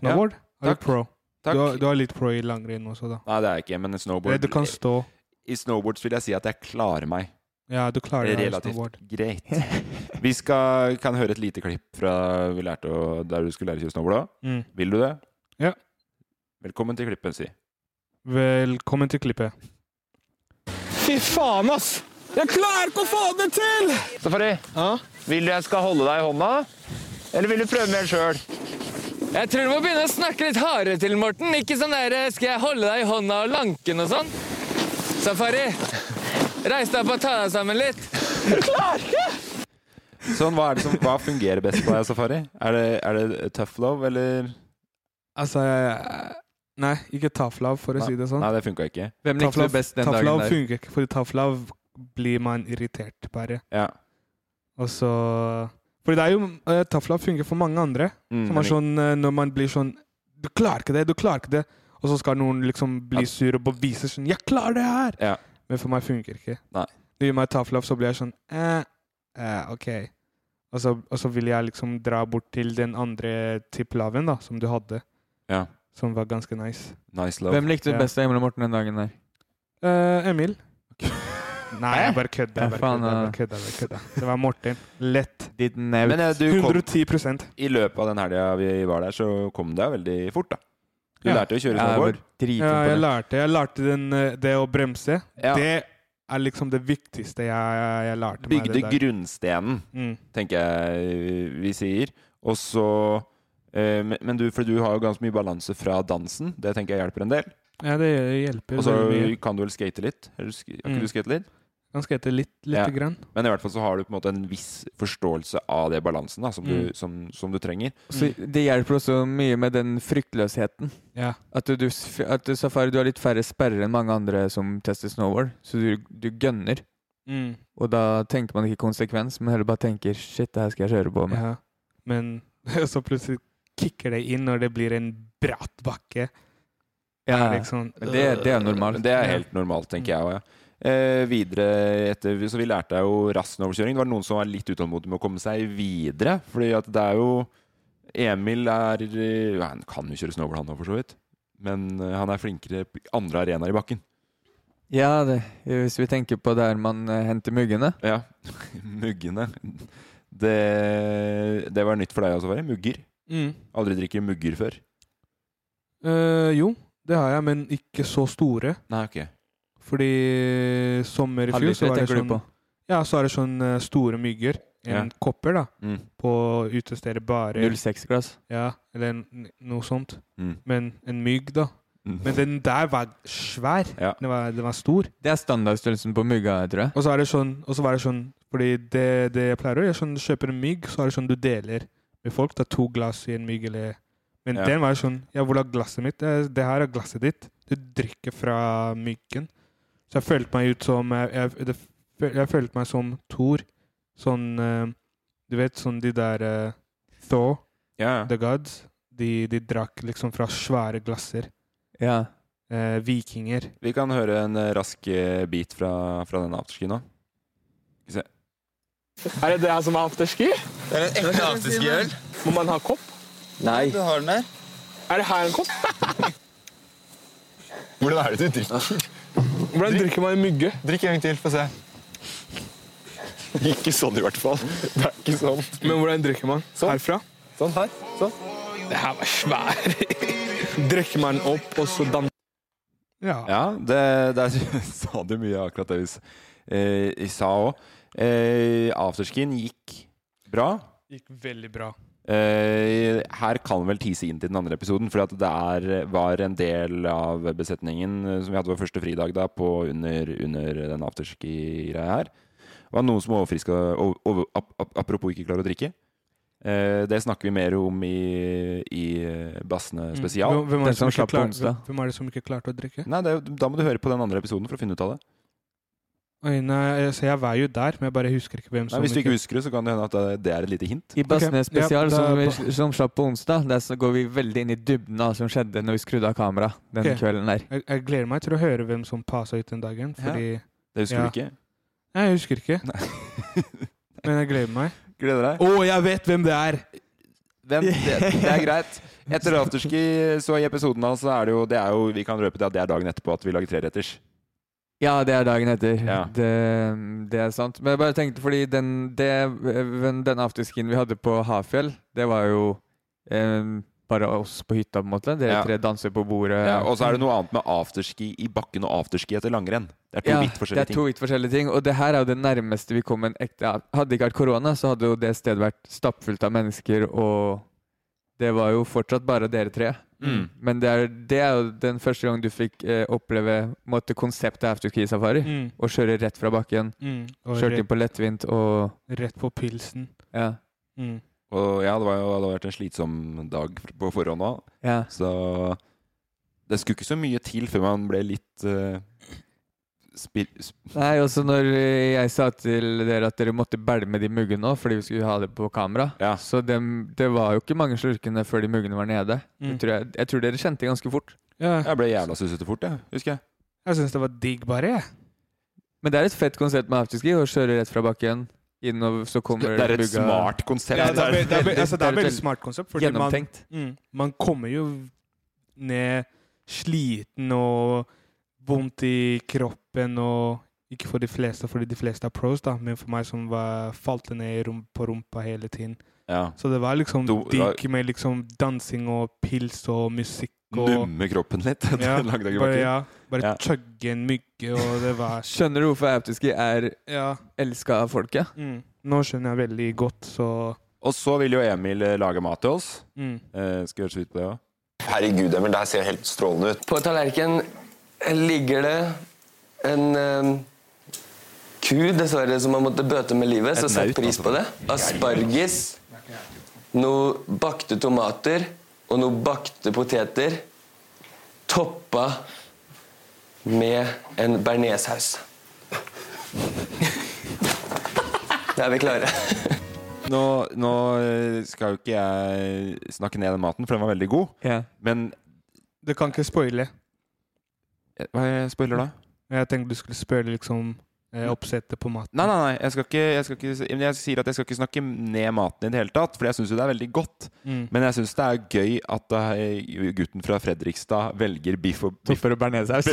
Speaker 2: Snowboard er
Speaker 10: takk.
Speaker 2: du pro.
Speaker 10: Takk.
Speaker 2: Du, har, du har litt pro i langrenn også, da.
Speaker 10: Nei, det er jeg ikke, men
Speaker 2: Eller
Speaker 10: snowboard
Speaker 2: du kan stå.
Speaker 10: I snowboard vil jeg si at jeg klarer meg.
Speaker 2: Ja, du klarer deg i snowboard.
Speaker 10: relativt greit. Vi skal, kan høre et lite klipp fra vi lærte å, der du skulle lære å kjøre snowboard. da.
Speaker 2: Mm.
Speaker 10: Vil du det?
Speaker 2: Ja.
Speaker 10: Velkommen til klippet, si.
Speaker 2: Velkommen til klippet.
Speaker 12: Fy faen, ass! Jeg klarer ikke å få det til!
Speaker 11: Safari, vil du jeg skal holde deg i hånda? Eller vil du prøve mer sjøl?
Speaker 13: Jeg tror du må begynne å snakke litt hardere til Morten. Ikke sånn der 'skal jeg holde deg i hånda og lanken' og sånn. Safari, reis deg opp og ta deg sammen litt.
Speaker 10: Sånn, hva, er det som, hva fungerer best på deg, Safari? Er det, er det tough love, eller
Speaker 2: Altså jeg- Nei, ikke tough love, for å
Speaker 10: Nei.
Speaker 2: si det sånn.
Speaker 10: Nei, det funka ikke.
Speaker 5: Hvem likte
Speaker 2: Tough
Speaker 5: du
Speaker 2: love-
Speaker 5: best den
Speaker 2: tough
Speaker 5: dagen
Speaker 2: love
Speaker 5: der?
Speaker 2: funker ikke, for tough love blir man irritert, bare.
Speaker 10: Ja.
Speaker 2: Og så For det er jo eh, Tafla fungerer for mange andre.
Speaker 10: Mm,
Speaker 2: som er
Speaker 10: enig.
Speaker 2: sånn eh, når man blir sånn Du klarer ikke det, du klarer ikke det. Og så skal noen liksom bli sur og bevise sånn 'Jeg klarer det her!'
Speaker 10: Ja.
Speaker 2: Men for meg funker ikke.
Speaker 10: Nei.
Speaker 2: Du gir meg Tafla, så blir jeg sånn eh, eh, OK. Og så, og så vil jeg liksom dra bort til den andre tippelaven da, som du hadde,
Speaker 10: Ja.
Speaker 2: som var ganske nice.
Speaker 10: Nice love.
Speaker 5: Hvem likte du best av Emil og Morten den dagen der?
Speaker 2: Eh, Emil. Nei, jeg bare kødder.
Speaker 5: Ja,
Speaker 2: Jeg bare
Speaker 5: faen,
Speaker 2: kødder, jeg bare
Speaker 5: ja.
Speaker 2: kødder, jeg bare kødder. Det var Morten. Lett.
Speaker 10: Men eh, du kom,
Speaker 2: 110
Speaker 10: i løpet av den helga vi var der, så kom du deg veldig fort, da. Du
Speaker 2: Ja.
Speaker 10: lærte jo å kjøre
Speaker 2: Ja, jeg
Speaker 10: snowboard.
Speaker 2: var Ja, jeg lærte, jeg lærte den, eh, det å bremse. Det er liksom det viktigste jeg, jeg, jeg lærte meg.
Speaker 10: Bygde
Speaker 2: det der.
Speaker 10: grunnstenen,
Speaker 2: Mm.
Speaker 10: tenker jeg vi sier. Og så eh, men- Men du, for du har jo ganske mye balanse fra dansen. Det tenker jeg hjelper en del.
Speaker 2: Ja, det hjelper
Speaker 10: Og så
Speaker 2: veldig mye.
Speaker 10: kan du vel skate litt? Eller sk- Har ikke
Speaker 2: Mm.
Speaker 10: Altså, du skate litt?
Speaker 2: Kan skate litt, lite
Speaker 10: Ja.
Speaker 2: grann.
Speaker 10: Men i hvert fall så har du på en måte en viss forståelse av det balansen da, som, du,
Speaker 5: Mm.
Speaker 10: som, som du trenger.
Speaker 2: Mm.
Speaker 5: Så det hjelper også mye med den fryktløsheten.
Speaker 2: Ja.
Speaker 5: At, du, du, s- at du, Safari, du har litt færre sperrer enn mange andre som tester snowboard, så du, du gønner.
Speaker 2: Mm.
Speaker 5: Og da tenker man ikke konsekvens, men heller bare tenker 'shit, det her skal jeg kjøre på med'.
Speaker 2: Ja. Men så plutselig kicker det inn når det blir en bratt bakke.
Speaker 5: Ja,
Speaker 2: Liksom,
Speaker 5: men det- det er
Speaker 2: øh,
Speaker 5: normalt.
Speaker 10: Det er
Speaker 5: Ja.
Speaker 10: helt normalt, tenker jeg òg. Ja. Eh, videre etter, Så vi lærte jo rassenoverkjøring. Det var noen som var litt utålmodige med å komme seg videre. Fordi at det er jo Emil er eh, Han kan jo kjøre snowboard, han òg, for så vidt. Men eh, han er flinkere på andre arenaer i bakken.
Speaker 5: Ja, det, hvis vi tenker på der man eh, henter muggene.
Speaker 10: Ja. Muggene. Det, det var nytt for deg også, Fari. Mugger.
Speaker 2: Mm.
Speaker 10: Aldri drikker mugger før.
Speaker 2: Eh, jo, det har jeg, men ikke så store.
Speaker 10: Nei, ok.
Speaker 2: Fordi sommer i fjor
Speaker 5: Halvliter
Speaker 2: så var det
Speaker 5: tenker du
Speaker 2: sånn
Speaker 5: på?
Speaker 2: Ja, så er det sånn eh, store mygger. En
Speaker 5: Ja.
Speaker 2: kopper, da.
Speaker 10: Mm.
Speaker 2: På utestedet barer.
Speaker 5: 06-glass.
Speaker 2: Ja, eller en- n- noe sånt.
Speaker 10: Mm.
Speaker 2: Men en mygg, da.
Speaker 10: Mm.
Speaker 2: Men den der var svær. Den, var, den var stor.
Speaker 5: Det er standardstørrelsen på mugga, tror jeg.
Speaker 2: Og så er det sånn, og så var det sånn Fordi det, det jeg pleier å gjøre, sånn, du kjøper en mygg, så er det sånn du deler med folk. Det er to glass i en mygg, eller Men
Speaker 10: Ja.
Speaker 2: den var sånn Ja, hvor er glasset mitt? Det, det her er glasset ditt. Du drikker fra myggen. Så jeg følte meg ut som Jeg, jeg, det, jeg følte meg som Thor. Sånn eh, Du vet, sånn de der eh, Thor,
Speaker 10: Ja.
Speaker 2: The Gods. De, de drakk liksom fra svære glasser.
Speaker 5: Ja.
Speaker 2: Eh, vikinger.
Speaker 10: Vi kan høre en eh, rask eh, bit fra, fra den afterski nå. Skal vi se.
Speaker 14: Er det det her som er afterski? Det er
Speaker 15: en ekte afterski-øl.
Speaker 14: Må man ha kopp?
Speaker 15: Nei. Du har den der.
Speaker 14: Er det her en kopp?
Speaker 15: Hvordan er det du drikker? Hvordan drikker man en mygge? Drikk en gang til, få se. Ikke sånn i hvert fall. Det er ikke sånn.
Speaker 14: Men hvordan drikker man? Herfra?
Speaker 15: Sånn her. Sånn.
Speaker 14: Det her var svær. drikker man opp, og så danser
Speaker 2: Ja,
Speaker 10: det, der sa du mye av akkurat det vi s- eh, vi sa òg. Eh, afterskien gikk bra.
Speaker 2: Gikk veldig bra.
Speaker 10: Eh, her kan vel tise inn til den andre episoden, for at det er, var en del av besetningen eh, som vi hadde vår første fridag da, på under, under den afterski-greia her. Det var noen som overfriska over, over, ap, ap, Apropos ikke klarer å drikke. Eh, det snakker vi mer om i, i eh, Bassene
Speaker 2: Mm.
Speaker 10: spesial.
Speaker 2: Hvem- hvem er det som ikke klar- hvem- Hvem er det som ikke klarte å drikke?
Speaker 10: Nei, det, er- da må du høre på den andre episoden for å finne ut av det.
Speaker 2: Oi, nei, altså jeg var jo der, men jeg bare husker ikke hvem som
Speaker 10: Nei, hvis du ikke husker det, så kan det hende at det- det er et lite hint.
Speaker 5: I Bassnes
Speaker 2: Ok, ja,
Speaker 5: spesial,
Speaker 2: da-
Speaker 5: som, vi, som slapp på onsdag, der så går vi veldig inn i dybden av hva som skjedde når vi skrudde av kamera den
Speaker 2: Ok.
Speaker 5: kvelden der.
Speaker 2: Jeg, jeg gleder meg til å høre hvem som passa ut den dagen, fordi
Speaker 10: Det husker
Speaker 2: Ja.
Speaker 10: du ikke?
Speaker 2: Nei, jeg husker ikke. men jeg gleder meg.
Speaker 10: Gleder deg?
Speaker 2: Å, jeg vet hvem det er!
Speaker 10: Hvem? Det, det er greit. Etter afterski, så i episoden hans, så er det jo, det er jo Vi kan røpe det at det er dagen etterpå at vi lager treretters.
Speaker 5: Ja, det er dagen etter. Det, det er sant. Men jeg bare tenkte, fordi den, det, den afterskien vi hadde på Hafjell, det var jo eh, bare oss på hytta, på en måte. Dere
Speaker 10: Ja.
Speaker 5: tre danser på bordet.
Speaker 10: Ja, og så er det noe annet med afterski i bakken og afterski etter langrenn. Det er to
Speaker 5: Ja,
Speaker 10: vidt
Speaker 5: det
Speaker 10: forskjellige
Speaker 5: er to
Speaker 10: ting.
Speaker 5: vidt forskjellige ting. Og det her er jo det nærmeste vi kom en ekte Hadde det ikke vært korona, så hadde jo det stedet vært stappfullt av mennesker, og det var jo fortsatt bare dere tre.
Speaker 10: Mm.
Speaker 5: Men det er, det er jo den første gang du fikk eh, oppleve på en måte, konseptet afterski-safari.
Speaker 2: Mm.
Speaker 5: Å kjøre rett fra bakken.
Speaker 2: Mm. Og
Speaker 5: Kjørt
Speaker 2: rett-
Speaker 5: inn på lettvint og
Speaker 2: Rett på pilsen.
Speaker 5: Ja.
Speaker 2: Mm.
Speaker 10: Og ja, det, var jo, det hadde vært en slitsom dag på forhånd òg.
Speaker 5: Ja.
Speaker 10: Så det skulle ikke så mye til før man ble litt eh, Spil,
Speaker 5: Nei, også når eh, jeg sa til dere at dere måtte bælme de muggene òg, fordi vi skulle ha det på kamera, så dem, det var jo ikke mange slurkene før de muggene var nede.
Speaker 2: Mm.
Speaker 5: Jeg, tror jeg, jeg tror dere kjente det ganske fort.
Speaker 2: Ja.
Speaker 10: Jeg ble jævla susete fort, jeg. Husker jeg.
Speaker 2: Jeg syns det var digg, bare. jeg.
Speaker 5: Men det er et fett konsept med afterski, å kjøre rett fra bakken innover, så kommer
Speaker 10: Det er et
Speaker 5: mugga-
Speaker 10: smart konsept.
Speaker 2: Ja, det er, det er,
Speaker 5: veldig-
Speaker 2: altså, det er et
Speaker 5: veldig
Speaker 2: veldig smart konsept. Fordi
Speaker 5: Gjennomtenkt.
Speaker 2: Man, mm, man kommer jo ned sliten og vondt i kroppen og Ikke for de fleste, fordi de fleste er pros, da, men for meg som var, falt ned i rum- på rumpa hele tiden.
Speaker 10: Ja.
Speaker 2: Så det var liksom
Speaker 10: Du-
Speaker 2: digg med liksom dansing og pils og musikk og
Speaker 10: Numme kroppen litt etter en lang dag i
Speaker 2: bare,
Speaker 10: bakken.
Speaker 2: ja, bare
Speaker 10: Ja.
Speaker 2: chugge en mygge, og det var
Speaker 5: Skjønner du hvorfor afterski er
Speaker 2: ja.
Speaker 5: elska av folket?
Speaker 2: mm, Nå skjønner jeg veldig godt, så
Speaker 10: Og så vil jo Emil eh, lage mat til oss.
Speaker 2: Mm.
Speaker 10: Eh, skal vi høre så vidt på det òg?
Speaker 16: Herregud, Emil, det her ser helt strålende ut. På tallerkenen ligger det en eh, ku, dessverre, som har måttet bøte med livet. Så
Speaker 10: Et
Speaker 16: sett
Speaker 10: naut,
Speaker 16: pris
Speaker 10: altså.
Speaker 16: på det. Asparges, noe bakte tomater og noe bakte poteter. Toppa med en bearnéssaus. Da er vi klare.
Speaker 10: Nå, nå eh, skal jo ikke jeg snakke ned den maten, for den var veldig god. Men
Speaker 2: Du kan ikke spoile.
Speaker 10: eh, Hva er jeg spoiler da?
Speaker 2: Jeg tenkte du skulle spørre liksom eh, oppsettet på maten.
Speaker 10: Nei, nei, nei. Jeg, skal ikke, jeg, skal ikke, men jeg sier at jeg skal ikke snakke ned maten i det hele tatt, for jeg syns jo det er veldig godt.
Speaker 2: Mm.
Speaker 10: Men jeg syns det er gøy at eh, gutten fra Fredrikstad velger biff og biff.
Speaker 5: og bearnéssaus.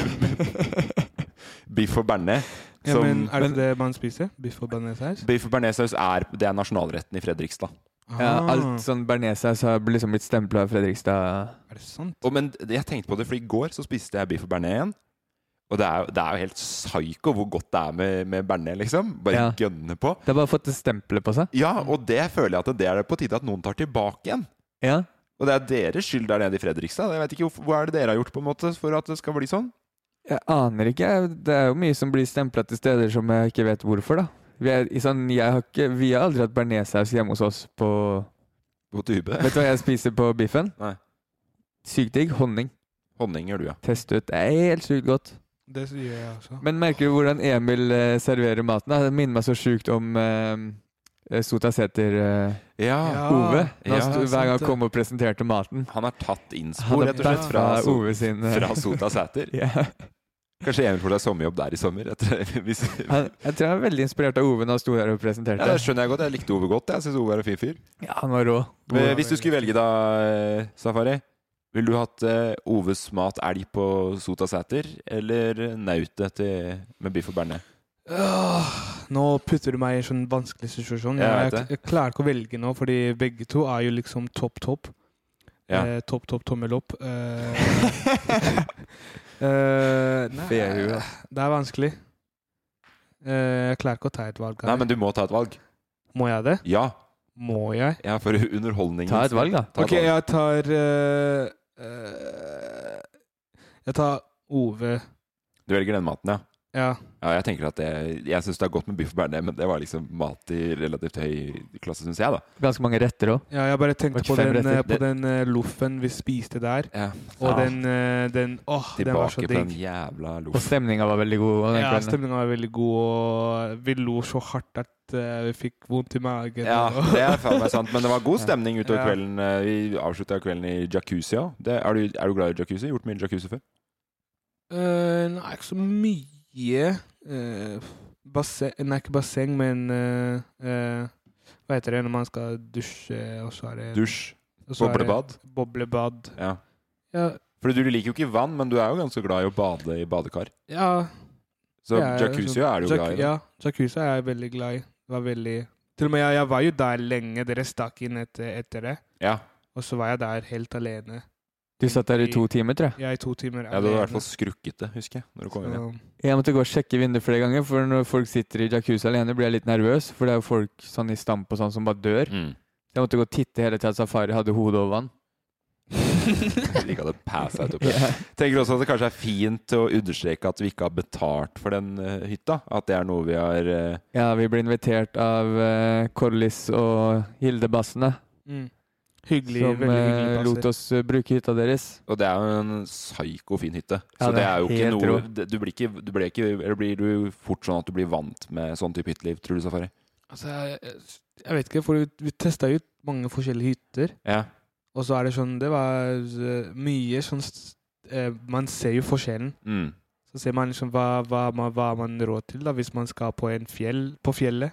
Speaker 10: biff og bearnés.
Speaker 2: Ja,
Speaker 10: som-
Speaker 2: men er det det man spiser? Biff og bearnéssaus?
Speaker 10: Biff og bearnéssaus er, det er nasjonalretten i Fredrikstad.
Speaker 5: Ja, alt sånn bearnéssaus har liksom blitt stempla av Fredrikstad.
Speaker 2: Ah, Er det sant?
Speaker 10: Og, men jeg tenkte på det, for i går så spiste jeg biff og bearnés igjen. Og det er, jo- det er jo helt psyko hvor godt det er med, med bearnés, liksom. Bare
Speaker 5: Ja.
Speaker 10: gønne på.
Speaker 5: Det har bare fått det stempelet på seg.
Speaker 10: Ja, og det føler jeg at det er på tide at noen tar tilbake igjen.
Speaker 5: Ja.
Speaker 10: Og det er deres skyld der nede i Fredrikstad. Jeg vet ikke hvorfor- Hva er det dere har gjort på en måte for at det skal bli sånn?
Speaker 5: Jeg aner ikke. Det er jo mye som blir stempla til steder som jeg ikke vet hvorfor, da. Vi, er, i sånn, jeg har, ikke, vi har aldri hatt bearnéssaus hjemme hos oss på
Speaker 10: På tube?
Speaker 5: Vet du hva jeg spiser på biffen?
Speaker 10: Nei.
Speaker 5: Sykt digg. Honning.
Speaker 10: Honning gjør du, ja.
Speaker 5: Test ut. Det er helt sykt godt.
Speaker 2: Det gjør jeg også.
Speaker 5: Men merker du hvordan Emil eh, serverer maten? da? Det minner meg så sjukt om eh, Sota Sæther eh,
Speaker 10: Ja.
Speaker 5: Ove. Når
Speaker 10: Ja,
Speaker 5: han sto,
Speaker 10: sant
Speaker 5: hver gang han
Speaker 10: det.
Speaker 5: kom og presenterte maten.
Speaker 10: Han har tatt inn
Speaker 5: Han
Speaker 10: spor,
Speaker 5: har
Speaker 10: rett og slett, fra,
Speaker 5: baffa Ove sin, eh,
Speaker 10: fra Sota Sæter.
Speaker 5: Ja.
Speaker 10: Kanskje Emil får seg sommerjobb der i sommer? Etter, hvis,
Speaker 5: Han, jeg tror han er veldig inspirert av Ove når han sto der og presenterte.
Speaker 10: ja, det skjønner jeg godt. Jeg likte Ove godt. Jeg syns Ove er en fin fyr.
Speaker 5: Ja, han var rå.
Speaker 10: Men Hvis du skulle velge, da, eh, Safari Ville du hatt eh, Oves mat elg på Sota Sæter eller nautet til, med biff og bearnés?
Speaker 2: Åh, Nå putter du meg i en sånn vanskelig situasjon.
Speaker 10: Jeg
Speaker 2: Jeg,
Speaker 10: vet
Speaker 2: jeg, klarer ikke å velge nå, fordi begge to er jo liksom topp, topp.
Speaker 10: Ja.
Speaker 2: Eh, topp, topp, tommel opp. Eh, eh, nei,
Speaker 10: Fehue.
Speaker 2: Det er vanskelig. Eh, jeg klarer ikke å ta et valg. her.
Speaker 10: Nei, men du må ta et valg.
Speaker 2: Må jeg det?
Speaker 10: Ja.
Speaker 2: Må jeg?
Speaker 10: Ja, for underholdningen.
Speaker 5: Ta et valg, da.
Speaker 10: Ta et
Speaker 2: Ok,
Speaker 10: valg.
Speaker 2: jeg tar eh, eh, Jeg tar Ove.
Speaker 10: Du velger den maten, ja?
Speaker 2: Ja.
Speaker 10: Ja, jeg tenker at det, jeg syns det er godt med biff og bearnés, men det var liksom mat i relativt høy klasse, syns jeg, da.
Speaker 5: Ganske mange retter òg.
Speaker 2: Ja, jeg bare tenkte
Speaker 5: Det
Speaker 2: på
Speaker 5: var ikke
Speaker 2: den,
Speaker 5: fem
Speaker 2: eh,
Speaker 5: retter.
Speaker 2: på den eh, loffen vi spiste der. Og
Speaker 10: Ja.
Speaker 2: den, eh, den Åh, den var så
Speaker 10: Tilbake på den
Speaker 2: digg.
Speaker 10: jævla
Speaker 5: Og
Speaker 10: loffen.
Speaker 5: stemninga var veldig god. og den
Speaker 2: Ja,
Speaker 5: kvelden.
Speaker 2: stemninga var veldig god, og vi lo så hardt at eh, vi fikk vondt i magen.
Speaker 10: Ja,
Speaker 2: og-
Speaker 10: det er faen meg sant, men det var god stemning utover
Speaker 2: Ja.
Speaker 10: kvelden. Eh, Vi avslutta kvelden i jacuzzi òg. Er, du- er du glad i jacuzzi? Gjort mye jacuzzi før?
Speaker 2: Eh, nei, ikke så mye. Eh, basse- nei, ikke basseng, men eh, eh, Hva heter det når man skal dusje, og så er det
Speaker 10: Dusj.
Speaker 2: og så er det
Speaker 10: Boblebad.
Speaker 2: Boblebad.
Speaker 10: Ja.
Speaker 2: Ja,
Speaker 10: For du liker jo ikke vann, men du er jo ganske glad i å bade i badekar.
Speaker 2: ja
Speaker 10: Så
Speaker 2: det er-
Speaker 10: jacuzzi er du
Speaker 2: jac-
Speaker 10: glad i, da.
Speaker 2: Ja, jacuzzi er jeg veldig glad i. Det var veldig Til og med jeg, jeg var jo der lenge. Dere stakk inn etter, etter det.
Speaker 10: Ja.
Speaker 2: Og så var jeg der helt alene.
Speaker 5: Du satt der i to timer, tror jeg.
Speaker 2: Jeg i to timer
Speaker 10: Ja, du var i hvert fall skrukkete, husker jeg. Når du kom inn.
Speaker 2: Så-
Speaker 5: Jeg måtte gå og sjekke vinduet flere ganger, for når folk sitter i jacuzzi alene, blir jeg litt nervøs. For det er jo folk sånn i stamp og sånn som bare dør.
Speaker 10: Mm.
Speaker 5: Jeg måtte gå og titte hele tida at Safari hadde hodet over vann.
Speaker 10: Slik at det passet ut oppi. Tenker også at det kanskje er fint å understreke at vi ikke har betalt for den eh, hytta. At det er noe vi har eh,
Speaker 5: Ja, vi ble invitert av eh, Corliss og Hilde Bassene.
Speaker 2: Mm. Hyggelig,
Speaker 5: som
Speaker 2: veldig
Speaker 5: eh,
Speaker 2: hyggelig
Speaker 5: lot
Speaker 2: passer.
Speaker 5: oss eh, bruke hytta deres.
Speaker 4: Og det er jo en psyko fin hytte.
Speaker 5: Ja,
Speaker 4: Så
Speaker 5: det
Speaker 4: det
Speaker 5: er
Speaker 4: er jo ikke
Speaker 5: helt
Speaker 4: noe
Speaker 5: rå.
Speaker 4: det- Du blir ikke, du blir ikke Eller blir du fort sånn at du blir vant med sånn type hytteliv, tror du, Safari?
Speaker 2: Altså, jeg, jeg vet ikke, for vi, vi testa ut mange forskjellige hytter.
Speaker 4: Ja.
Speaker 2: Og så er det sånn Det var eh, mye sånn s- eh, Man ser jo forskjellen.
Speaker 4: Mm.
Speaker 2: Så ser man liksom hva, hva, man, hva man har råd til da, hvis man skal på en fjell på fjellet.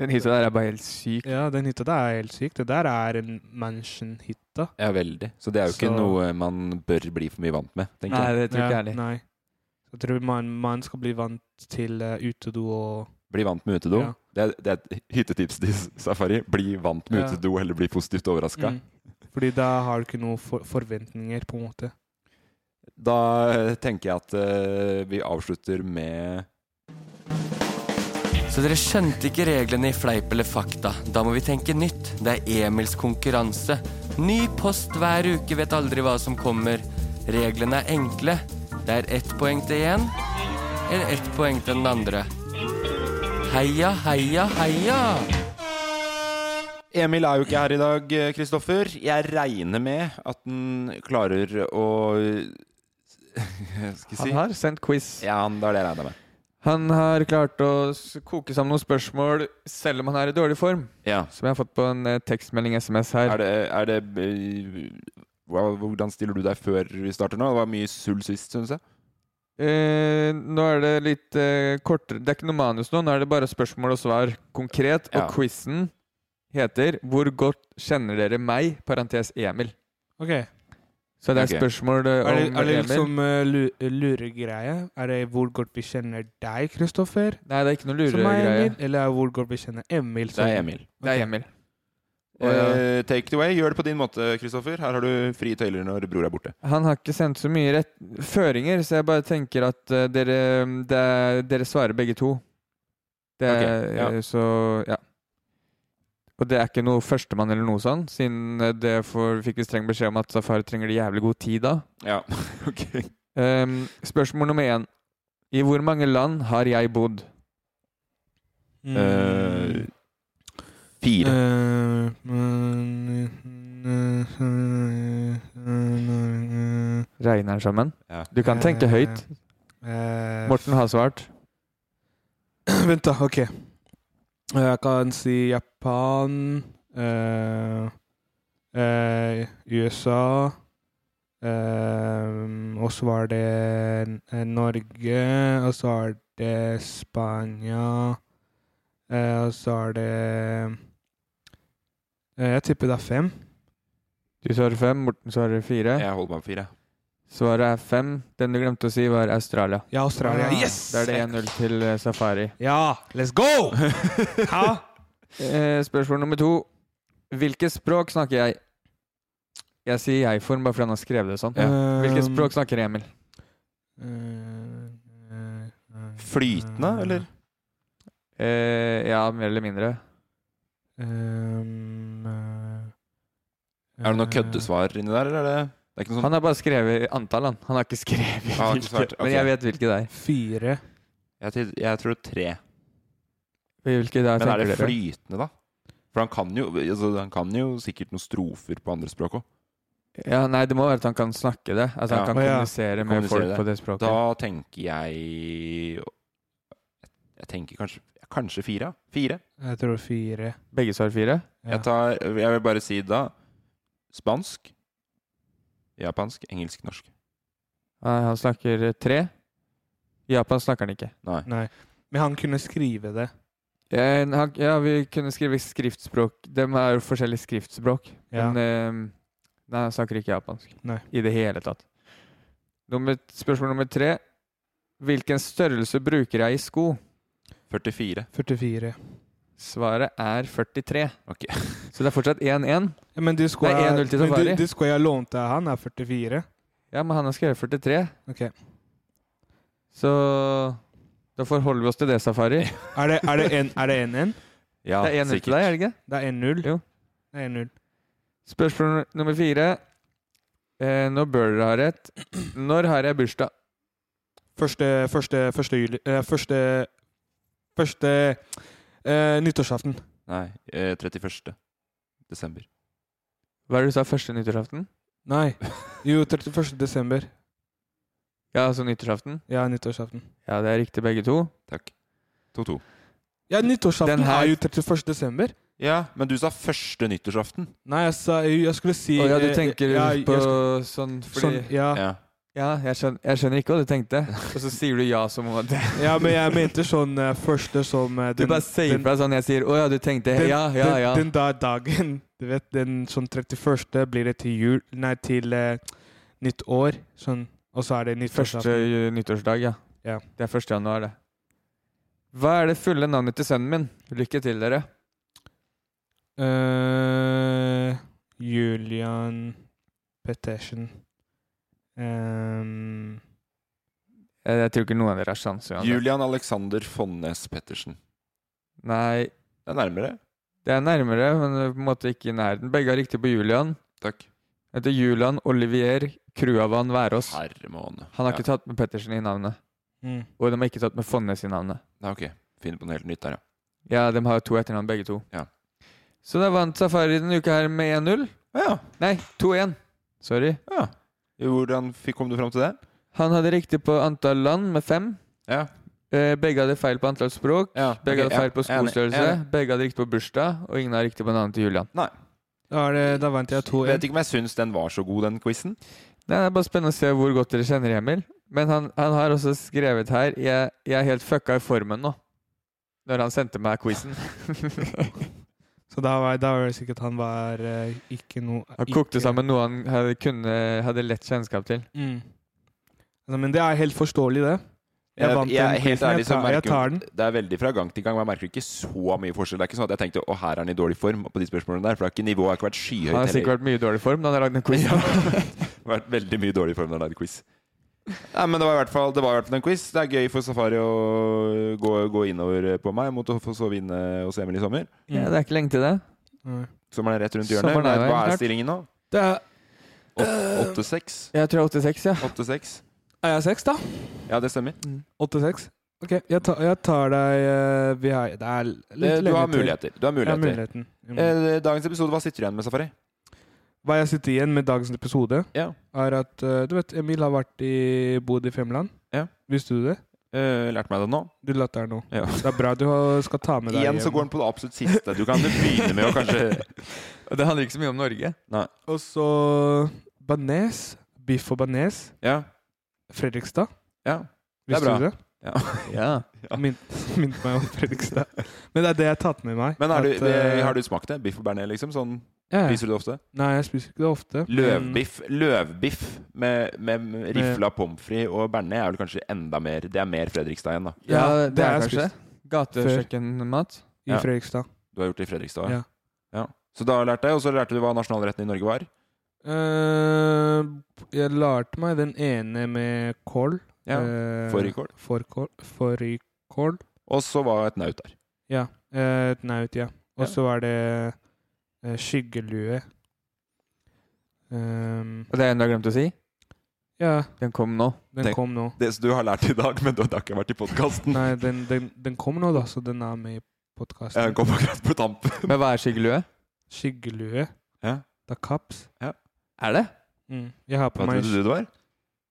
Speaker 5: Den hytta der er bare helt syk.
Speaker 2: Ja, den hytta der er helt syk. Det der er en mansion-hytta.
Speaker 4: Ja, veldig. Så det er jo ikke
Speaker 2: Så-
Speaker 4: noe man bør bli for mye vant med, tenker
Speaker 5: Nei,
Speaker 4: jeg.
Speaker 5: det tror ikke jeg heller.
Speaker 2: Nei. Jeg tror man, man skal bli vant til eh, utedo og
Speaker 4: Bli vant med utedo.
Speaker 2: Ja.
Speaker 4: Det, er, det er et hyttetips til Safari. Bli vant med
Speaker 2: Ja.
Speaker 4: utedo, eller bli positivt overraska.
Speaker 2: Mm. Fordi da har du ikke noen for forventninger, på en måte.
Speaker 4: Da eh, tenker jeg at eh, vi avslutter med
Speaker 17: Så dere skjønte ikke reglene i Fleip eller fakta. Da må vi tenke nytt. Det er Emils konkurranse. Ny post hver uke, vet aldri hva som kommer. Reglene er enkle. Det er ett poeng til én, eller ett poeng til den andre. Heia, heia, heia!
Speaker 4: Emil er jo ikke her i dag, Kristoffer. Jeg regner med at han klarer å Hva skal jeg si?
Speaker 5: Han har sendt quiz.
Speaker 4: Ja, han, det er det jeg regner med.
Speaker 5: Han har klart å s- koke sammen noen spørsmål selv om han er i dårlig form.
Speaker 4: Ja.
Speaker 5: Som jeg har fått på en eh, tekstmelding SMS her.
Speaker 4: Er det, er det eh, hva- Hvordan stiller du deg før vi starter nå? Det var mye sull sist, syns jeg.
Speaker 5: Eh, nå er det litt eh, kortere Det er ikke noe manus nå. Nå er det bare spørsmål og svar konkret.
Speaker 4: Ja.
Speaker 5: Og quizen heter 'Hvor godt kjenner dere meg?' parentes Emil.
Speaker 2: Ok.
Speaker 5: Så det er
Speaker 2: Ok.
Speaker 5: spørsmål eh,
Speaker 2: Er det,
Speaker 5: om
Speaker 2: er det
Speaker 5: Emil.
Speaker 2: liksom eh, lu- luregreie? Er det hvor godt vi kjenner deg, Kristoffer?
Speaker 5: Nei, det er ikke noe
Speaker 2: Som er
Speaker 5: luregreie.
Speaker 2: Emil, eller er det hvor godt vi kjenner Emil?
Speaker 4: Det er Emil.
Speaker 5: Det er Emil.
Speaker 4: Eh, take it away. Gjør det på din måte, Kristoffer. Her har du frie tøyler når bror er borte.
Speaker 5: Han har ikke sendt så mye rett føringer, så jeg bare tenker at eh, dere, det, er- dere svarer begge to. Det er,
Speaker 4: Ok, ja.
Speaker 5: eh, Så ja. Og det er ikke noe førstemann eller noe sånn, siden eh, det får, fikk vi streng beskjed om at Safari trenger det jævlig god tid da.
Speaker 4: Ja, ok.
Speaker 5: Ehm, spørsmål nummer én. I hvor mange land har jeg bodd?
Speaker 4: Eh, fire.
Speaker 2: Mm. Eh, men-
Speaker 5: Regner den sammen?
Speaker 4: Ja.
Speaker 5: Du kan tenke høyt.
Speaker 2: Eh,
Speaker 5: Morten har svart.
Speaker 2: Vent, da. OK. Eh, Jeg kan si Japan eh, eh, USA eh, Og så var det eh, Norge, og så er det Spania eh, Og så er det eh, Jeg tipper det er fem.
Speaker 5: Du svarer fem, Morten svarer fire.
Speaker 4: Jeg holder meg på fire.
Speaker 5: Svaret er fem. Den du glemte å si, var Australia.
Speaker 2: Ja, Australia.
Speaker 5: Ah.
Speaker 2: Yes!
Speaker 5: Da er det 1-0 til eh, Safari.
Speaker 2: Ja! Let's go! Hæ?
Speaker 5: Eh, Spørsmål nummer to. Hvilket språk snakker jeg? Jeg sier jeg-form bare fordi han har skrevet det sånn.
Speaker 2: Ja.
Speaker 5: Hvilket
Speaker 2: Eh,
Speaker 5: språk snakker Emil?
Speaker 4: Flytende, eller?
Speaker 5: Eh, ja, mer eller mindre.
Speaker 2: Ehm,
Speaker 4: Er det
Speaker 2: eh,
Speaker 4: noe køddesvar inni der, eller er det, det er ikke noe sånn
Speaker 5: Han har bare skrevet antall, han. Han har ikke skrevet
Speaker 4: Han har ikke
Speaker 5: hvilke.
Speaker 4: svart, ok.
Speaker 5: Men jeg vet hvilke det er.
Speaker 2: Fire.
Speaker 4: jeg, tror- jeg tror tre.
Speaker 5: Hvilke det er,
Speaker 4: Men er det
Speaker 5: tenker dere?
Speaker 4: flytende, da? For han kan jo, altså, han kan jo sikkert noen strofer på andre språk òg.
Speaker 5: Ja, nei, det må være at han kan snakke det. Altså han kan kommunisere med folk på det språket.
Speaker 4: Da tenker jeg Jeg tenker kanskje, kanskje fire. ja. Fire.
Speaker 2: Jeg tror fire.
Speaker 5: Begge svarer fire?
Speaker 4: Jeg, tar, jeg vil bare si da spansk, japansk, engelsk, norsk.
Speaker 5: Nei, han snakker eh, tre. I Japan snakker han ikke.
Speaker 4: Nei.
Speaker 2: Nei. Men han kunne skrive det.
Speaker 5: Eh, han, ja, vi kunne skrive skriftspråk. De er jo forskjellige skriftspråk.
Speaker 2: Ja.
Speaker 5: Men eh, nei, han snakker ikke japansk
Speaker 2: Nei.
Speaker 5: i det hele tatt. Nummer, spørsmål nummer tre. Hvilken størrelse bruker jeg i sko?
Speaker 4: 44.
Speaker 2: 44.
Speaker 5: Svaret er 43.
Speaker 4: Ok.
Speaker 5: Så det er fortsatt 1-1.
Speaker 2: Ja, men du skulle
Speaker 5: Nei, 1-0 til
Speaker 2: men
Speaker 5: Safari.
Speaker 2: du- du skulle jeg lånte av han, er 44.
Speaker 5: Ja, men han har skrevet 43.
Speaker 2: Ok.
Speaker 5: Så da forholder vi oss til det, Safari.
Speaker 2: Er det er det en- er det 1-1?
Speaker 4: Ja,
Speaker 5: det er 1-0 til deg, er det ikke?
Speaker 2: Det er 1-0.
Speaker 5: Jo.
Speaker 2: Det er 1-0.
Speaker 5: Spørsmål nummer fire. Eh, nå bør dere ha rett. Når har jeg bursdag?
Speaker 2: Første, første, første juli eh, Første Første eh, nyttårsaften.
Speaker 4: Nei, eh, 31. desember.
Speaker 5: Hva er det du sa? Første nyttårsaften?
Speaker 2: Nei. Jo, 31. desember.
Speaker 5: Ja, altså nyttårsaften?
Speaker 2: Ja, nyttårsaften.
Speaker 5: Ja, det er riktig begge to.
Speaker 4: Takk. 2-2.
Speaker 2: Ja, nyttårsaften
Speaker 4: Den her-
Speaker 2: er jo 31. desember.
Speaker 4: Ja, men du sa første nyttårsaften.
Speaker 2: Nei, jeg sa Jeg, jeg skulle si
Speaker 5: Å ja, du
Speaker 2: eh,
Speaker 5: tenker
Speaker 2: ja, jeg
Speaker 5: på
Speaker 2: skulle-
Speaker 5: sånn fordi
Speaker 2: Sånn, ja.
Speaker 4: Ja.
Speaker 5: Ja, jeg, skjønner, jeg skjønner ikke hva du tenkte. Og så sier du ja som om at
Speaker 2: Ja, men jeg mente sånn eh, første som eh,
Speaker 5: Du
Speaker 2: den-
Speaker 5: bare sier
Speaker 2: den-
Speaker 5: fra sånn jeg sier 'Å ja, du tenkte
Speaker 2: den,
Speaker 5: Ja, ja,
Speaker 2: den-
Speaker 5: ja.
Speaker 2: Den da dagen, du vet, den sånn 31. blir det til jul, nei, til eh, nytt år, sånn, og så er det nyttårsaften.
Speaker 5: Første eh, nyttårsdag, ja.
Speaker 2: Ja.
Speaker 5: Det er 1. januar, det. Hva er det fulle navnet til sønnen min? Lykke til, dere.
Speaker 2: Eh, Julian Pettersen. Ehm,
Speaker 5: Eh, Jeg, jeg tror ikke noen av dere har sjanse. uansett.
Speaker 4: Julian Alexander Fonnes Pettersen.
Speaker 5: Nei.
Speaker 4: Det er nærmere.
Speaker 5: Det er nærmere, men det er på en måte ikke i nærheten. Begge har riktig på Julian.
Speaker 4: Takk.
Speaker 5: Heter Julian Olivier Kruavan Værås.
Speaker 4: Herre måne.
Speaker 5: Han har
Speaker 4: Ja.
Speaker 5: ikke tatt med Pettersen i navnet.
Speaker 2: Mm.
Speaker 5: Og de har ikke tatt med Fonnes i navnet.
Speaker 4: Nei, ok. Finner på noe helt nytt der, ja.
Speaker 5: Ja, de har jo to etternavn, begge to.
Speaker 4: Ja.
Speaker 5: Så da vant Safari denne uka her med 1-0. Nei, 2-1. Sorry.
Speaker 4: Hvordan fikk- kom du fram til det?
Speaker 5: Han hadde riktig på antall land med fem.
Speaker 4: Ja.
Speaker 5: Eh, begge hadde feil på antall språk. Begge
Speaker 4: ok,
Speaker 5: hadde feil
Speaker 4: ja.
Speaker 5: på skostørrelse.
Speaker 4: Enig, enig.
Speaker 5: Begge hadde riktig på bursdag, og ingen hadde riktig på navnet til Julian.
Speaker 4: Nei.
Speaker 2: Da, er det, da vant jeg to.
Speaker 4: Vet ikke om jeg syns den var så god, den quizen.
Speaker 5: Nei, Det er bare spennende å se hvor godt dere kjenner Emil. Men han, han har også skrevet her jeg, 'Jeg er helt fucka i formen nå', når han sendte meg quizen.
Speaker 2: Så da var, da var det sikkert han var eh, ikke noe
Speaker 5: Han
Speaker 2: ikke-
Speaker 5: kokte sammen noe han hadde, kunne, hadde lett kjennskap til.
Speaker 2: Mm. Altså, men det er helt forståelig, det.
Speaker 4: Jeg,
Speaker 2: vant
Speaker 4: jeg,
Speaker 2: den
Speaker 4: er helt
Speaker 2: prisen,
Speaker 4: ærlig,
Speaker 2: jeg
Speaker 4: så
Speaker 2: tar, jeg
Speaker 4: merker
Speaker 2: tar
Speaker 4: jo-
Speaker 2: den.
Speaker 4: Det er veldig fra gang til gang, men jeg merker ikke så mye forskjell. Det er ikke sånn at jeg tenkte å, her er han i dårlig form, på de spørsmålene der, for det har ikke, nivået har ikke vært skyhøyt.
Speaker 5: Han har
Speaker 4: heller.
Speaker 5: sikkert vært mye i dårlig form da han har lagd en quiz.
Speaker 4: vært veldig mye dårlig form når det er quiz. Nei, men det var, i hvert fall, det var i hvert fall en quiz. Det er gøy for Safari å gå, gå innover på meg mot å få så vinne hos Emil i sommer.
Speaker 5: ja, det er ikke lenge til det.
Speaker 2: Nei.
Speaker 4: Sommeren er rett rundt hjørnet.
Speaker 5: Sommeren er
Speaker 4: Nei,
Speaker 5: jo
Speaker 4: Hva er
Speaker 5: snart.
Speaker 4: stillingen nå?
Speaker 2: Det er
Speaker 4: Åt- 8-6?
Speaker 5: Jeg tror 86, ja.
Speaker 4: 8-6?
Speaker 2: Er jeg seks, da?
Speaker 4: Ja, det stemmer.
Speaker 2: 86? OK, jeg tar, jeg tar deg eh, vi har, Det er litt
Speaker 4: Det, du,
Speaker 2: lenge
Speaker 4: har
Speaker 2: til.
Speaker 4: muligheter. du har
Speaker 2: Jeg har
Speaker 4: muligheter.
Speaker 2: muligheten. Jeg må-
Speaker 4: Eh, Dagens episode, hva sitter du igjen med, Safari?
Speaker 2: Hva jeg sitter igjen med dagens episode,
Speaker 4: Ja.
Speaker 2: er at eh, Du vet, Emil har vært i bodd i Femland.
Speaker 4: Ja.
Speaker 2: Visste du det?
Speaker 4: Eh, lært meg det nå.
Speaker 2: Du latt der nå.
Speaker 4: Ja.
Speaker 2: Det er bra du har- skal ta med deg
Speaker 4: Igjen så går den på det absolutt siste. Du kan begynne med å kanskje
Speaker 5: Og Det handler ikke så mye om Norge.
Speaker 4: Nei.
Speaker 2: Og så Banes. Biff og banes.
Speaker 4: Ja.
Speaker 2: Fredrikstad.
Speaker 4: Ja. Det er
Speaker 2: Visste
Speaker 4: bra.
Speaker 2: du det?
Speaker 5: Ja.
Speaker 2: Mint- Mint meg om Fredrikstad. Men det er det jeg har tatt med meg.
Speaker 4: Men er du,
Speaker 2: At, eh,
Speaker 4: har du smakt det? Biff og bearnés, liksom? Sånn,
Speaker 2: Ja, Mm. ja.
Speaker 4: Spiser du det ofte?
Speaker 2: Nei, jeg spiser ikke det ofte. men-
Speaker 4: Løvbiff løvbiff med, med rifla pommes frites og bearnés er vel kanskje enda mer Det er mer Fredrikstad igjen, da.
Speaker 5: Ja,
Speaker 2: Ja,
Speaker 5: det,
Speaker 2: det har
Speaker 5: er
Speaker 2: jeg
Speaker 5: kanskje
Speaker 2: spist.
Speaker 5: gatekjøkkenmat.
Speaker 2: I
Speaker 4: Ja.
Speaker 2: Fredrikstad.
Speaker 4: Du har gjort det i Fredrikstad?
Speaker 2: Ja.
Speaker 4: ja. Så da lærte jeg, og så lærte du hva nasjonalretten i Norge var?
Speaker 2: Eh, jeg lærte meg den ene med kål.
Speaker 4: Ja,
Speaker 2: Eh,
Speaker 4: fårikål.
Speaker 2: Fårikål. Fårikål.
Speaker 4: Og så var et naut der.
Speaker 2: Ja. eh, Et naut, ja. Og så var det eh, skyggelue. Um,
Speaker 5: Og det er en du har glemt å si?
Speaker 2: Ja.
Speaker 5: Den kom nå.
Speaker 2: Den
Speaker 4: Det-
Speaker 2: kom nå.
Speaker 4: Det som du har lært i dag, men det har ikke vært i podkasten.
Speaker 2: Nei, den, den, den kom nå, da, så den er med
Speaker 4: Ja,
Speaker 2: i
Speaker 4: den
Speaker 2: podkasten.
Speaker 4: kom akkurat på tampen.
Speaker 5: Men hva er skyggelue?
Speaker 2: Skyggelue.
Speaker 4: Ja.
Speaker 2: Det er kaps.
Speaker 5: Er det?
Speaker 2: Mm. Jeg har på
Speaker 4: Hva
Speaker 2: meg
Speaker 4: trodde du det var?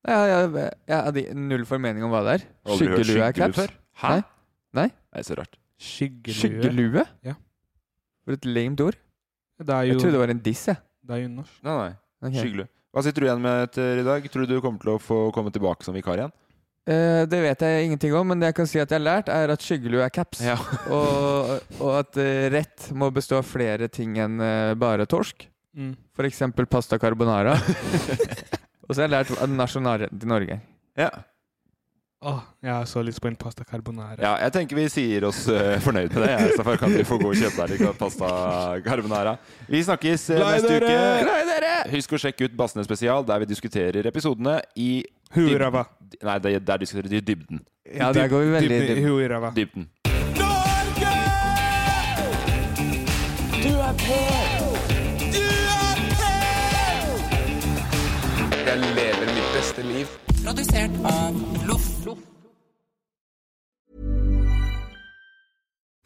Speaker 5: Ja, jeg, jeg, jeg hadde null formening om hva det er.
Speaker 4: Aldri hørt
Speaker 5: Skyggelue er
Speaker 4: skyggelue
Speaker 5: caps.
Speaker 4: før. Hæ?
Speaker 5: Nei. Nei?
Speaker 4: Nei, så rart.
Speaker 2: skyggelue.
Speaker 5: Skyggelue?
Speaker 2: Ja.
Speaker 5: For et lamet ord.
Speaker 2: Det er
Speaker 5: Jeg
Speaker 2: jo,
Speaker 5: trodde det var en diss, jeg.
Speaker 2: det er jo norsk.
Speaker 4: Nei, nei.
Speaker 5: Ok.
Speaker 4: Skyggelue. Hva sitter du igjen med etter i dag? Tror du du kommer til å få komme tilbake som vikar igjen?
Speaker 5: Eh, det vet jeg ingenting om, men det jeg kan si at jeg har lært, er at skyggelue er caps.
Speaker 4: Ja.
Speaker 5: og, og at eh, rett må bestå av flere ting enn eh, bare torsk.
Speaker 2: Mm.
Speaker 5: For eksempel pasta carbonara. og så har jeg lært at nasjonalretten til Norge.
Speaker 4: Ja.
Speaker 2: Åh, jeg er så lyst på en pasta carbonara.
Speaker 4: Ja, jeg tenker vi sier oss eh, fornøyd med det. jeg. Så kan vi få gå og kjøpe deg litt pasta carbonara. Vi snakkes eh,
Speaker 2: Glad i
Speaker 4: neste
Speaker 2: dere!
Speaker 4: uke.
Speaker 5: Glad i dere!
Speaker 4: Husk å sjekke ut Bassene spesial, der vi diskuterer episodene i
Speaker 2: Hurrava.
Speaker 4: dyb- Nei, det- der diskuterer de dybden.
Speaker 5: Ja, der går vi veldig i dybden.
Speaker 2: Hurrava.
Speaker 4: Dybden.
Speaker 18: Du er på! Du er på!
Speaker 3: Jeg lever mitt beste liv.
Speaker 18: Produsert av Loff.
Speaker 19: Loff.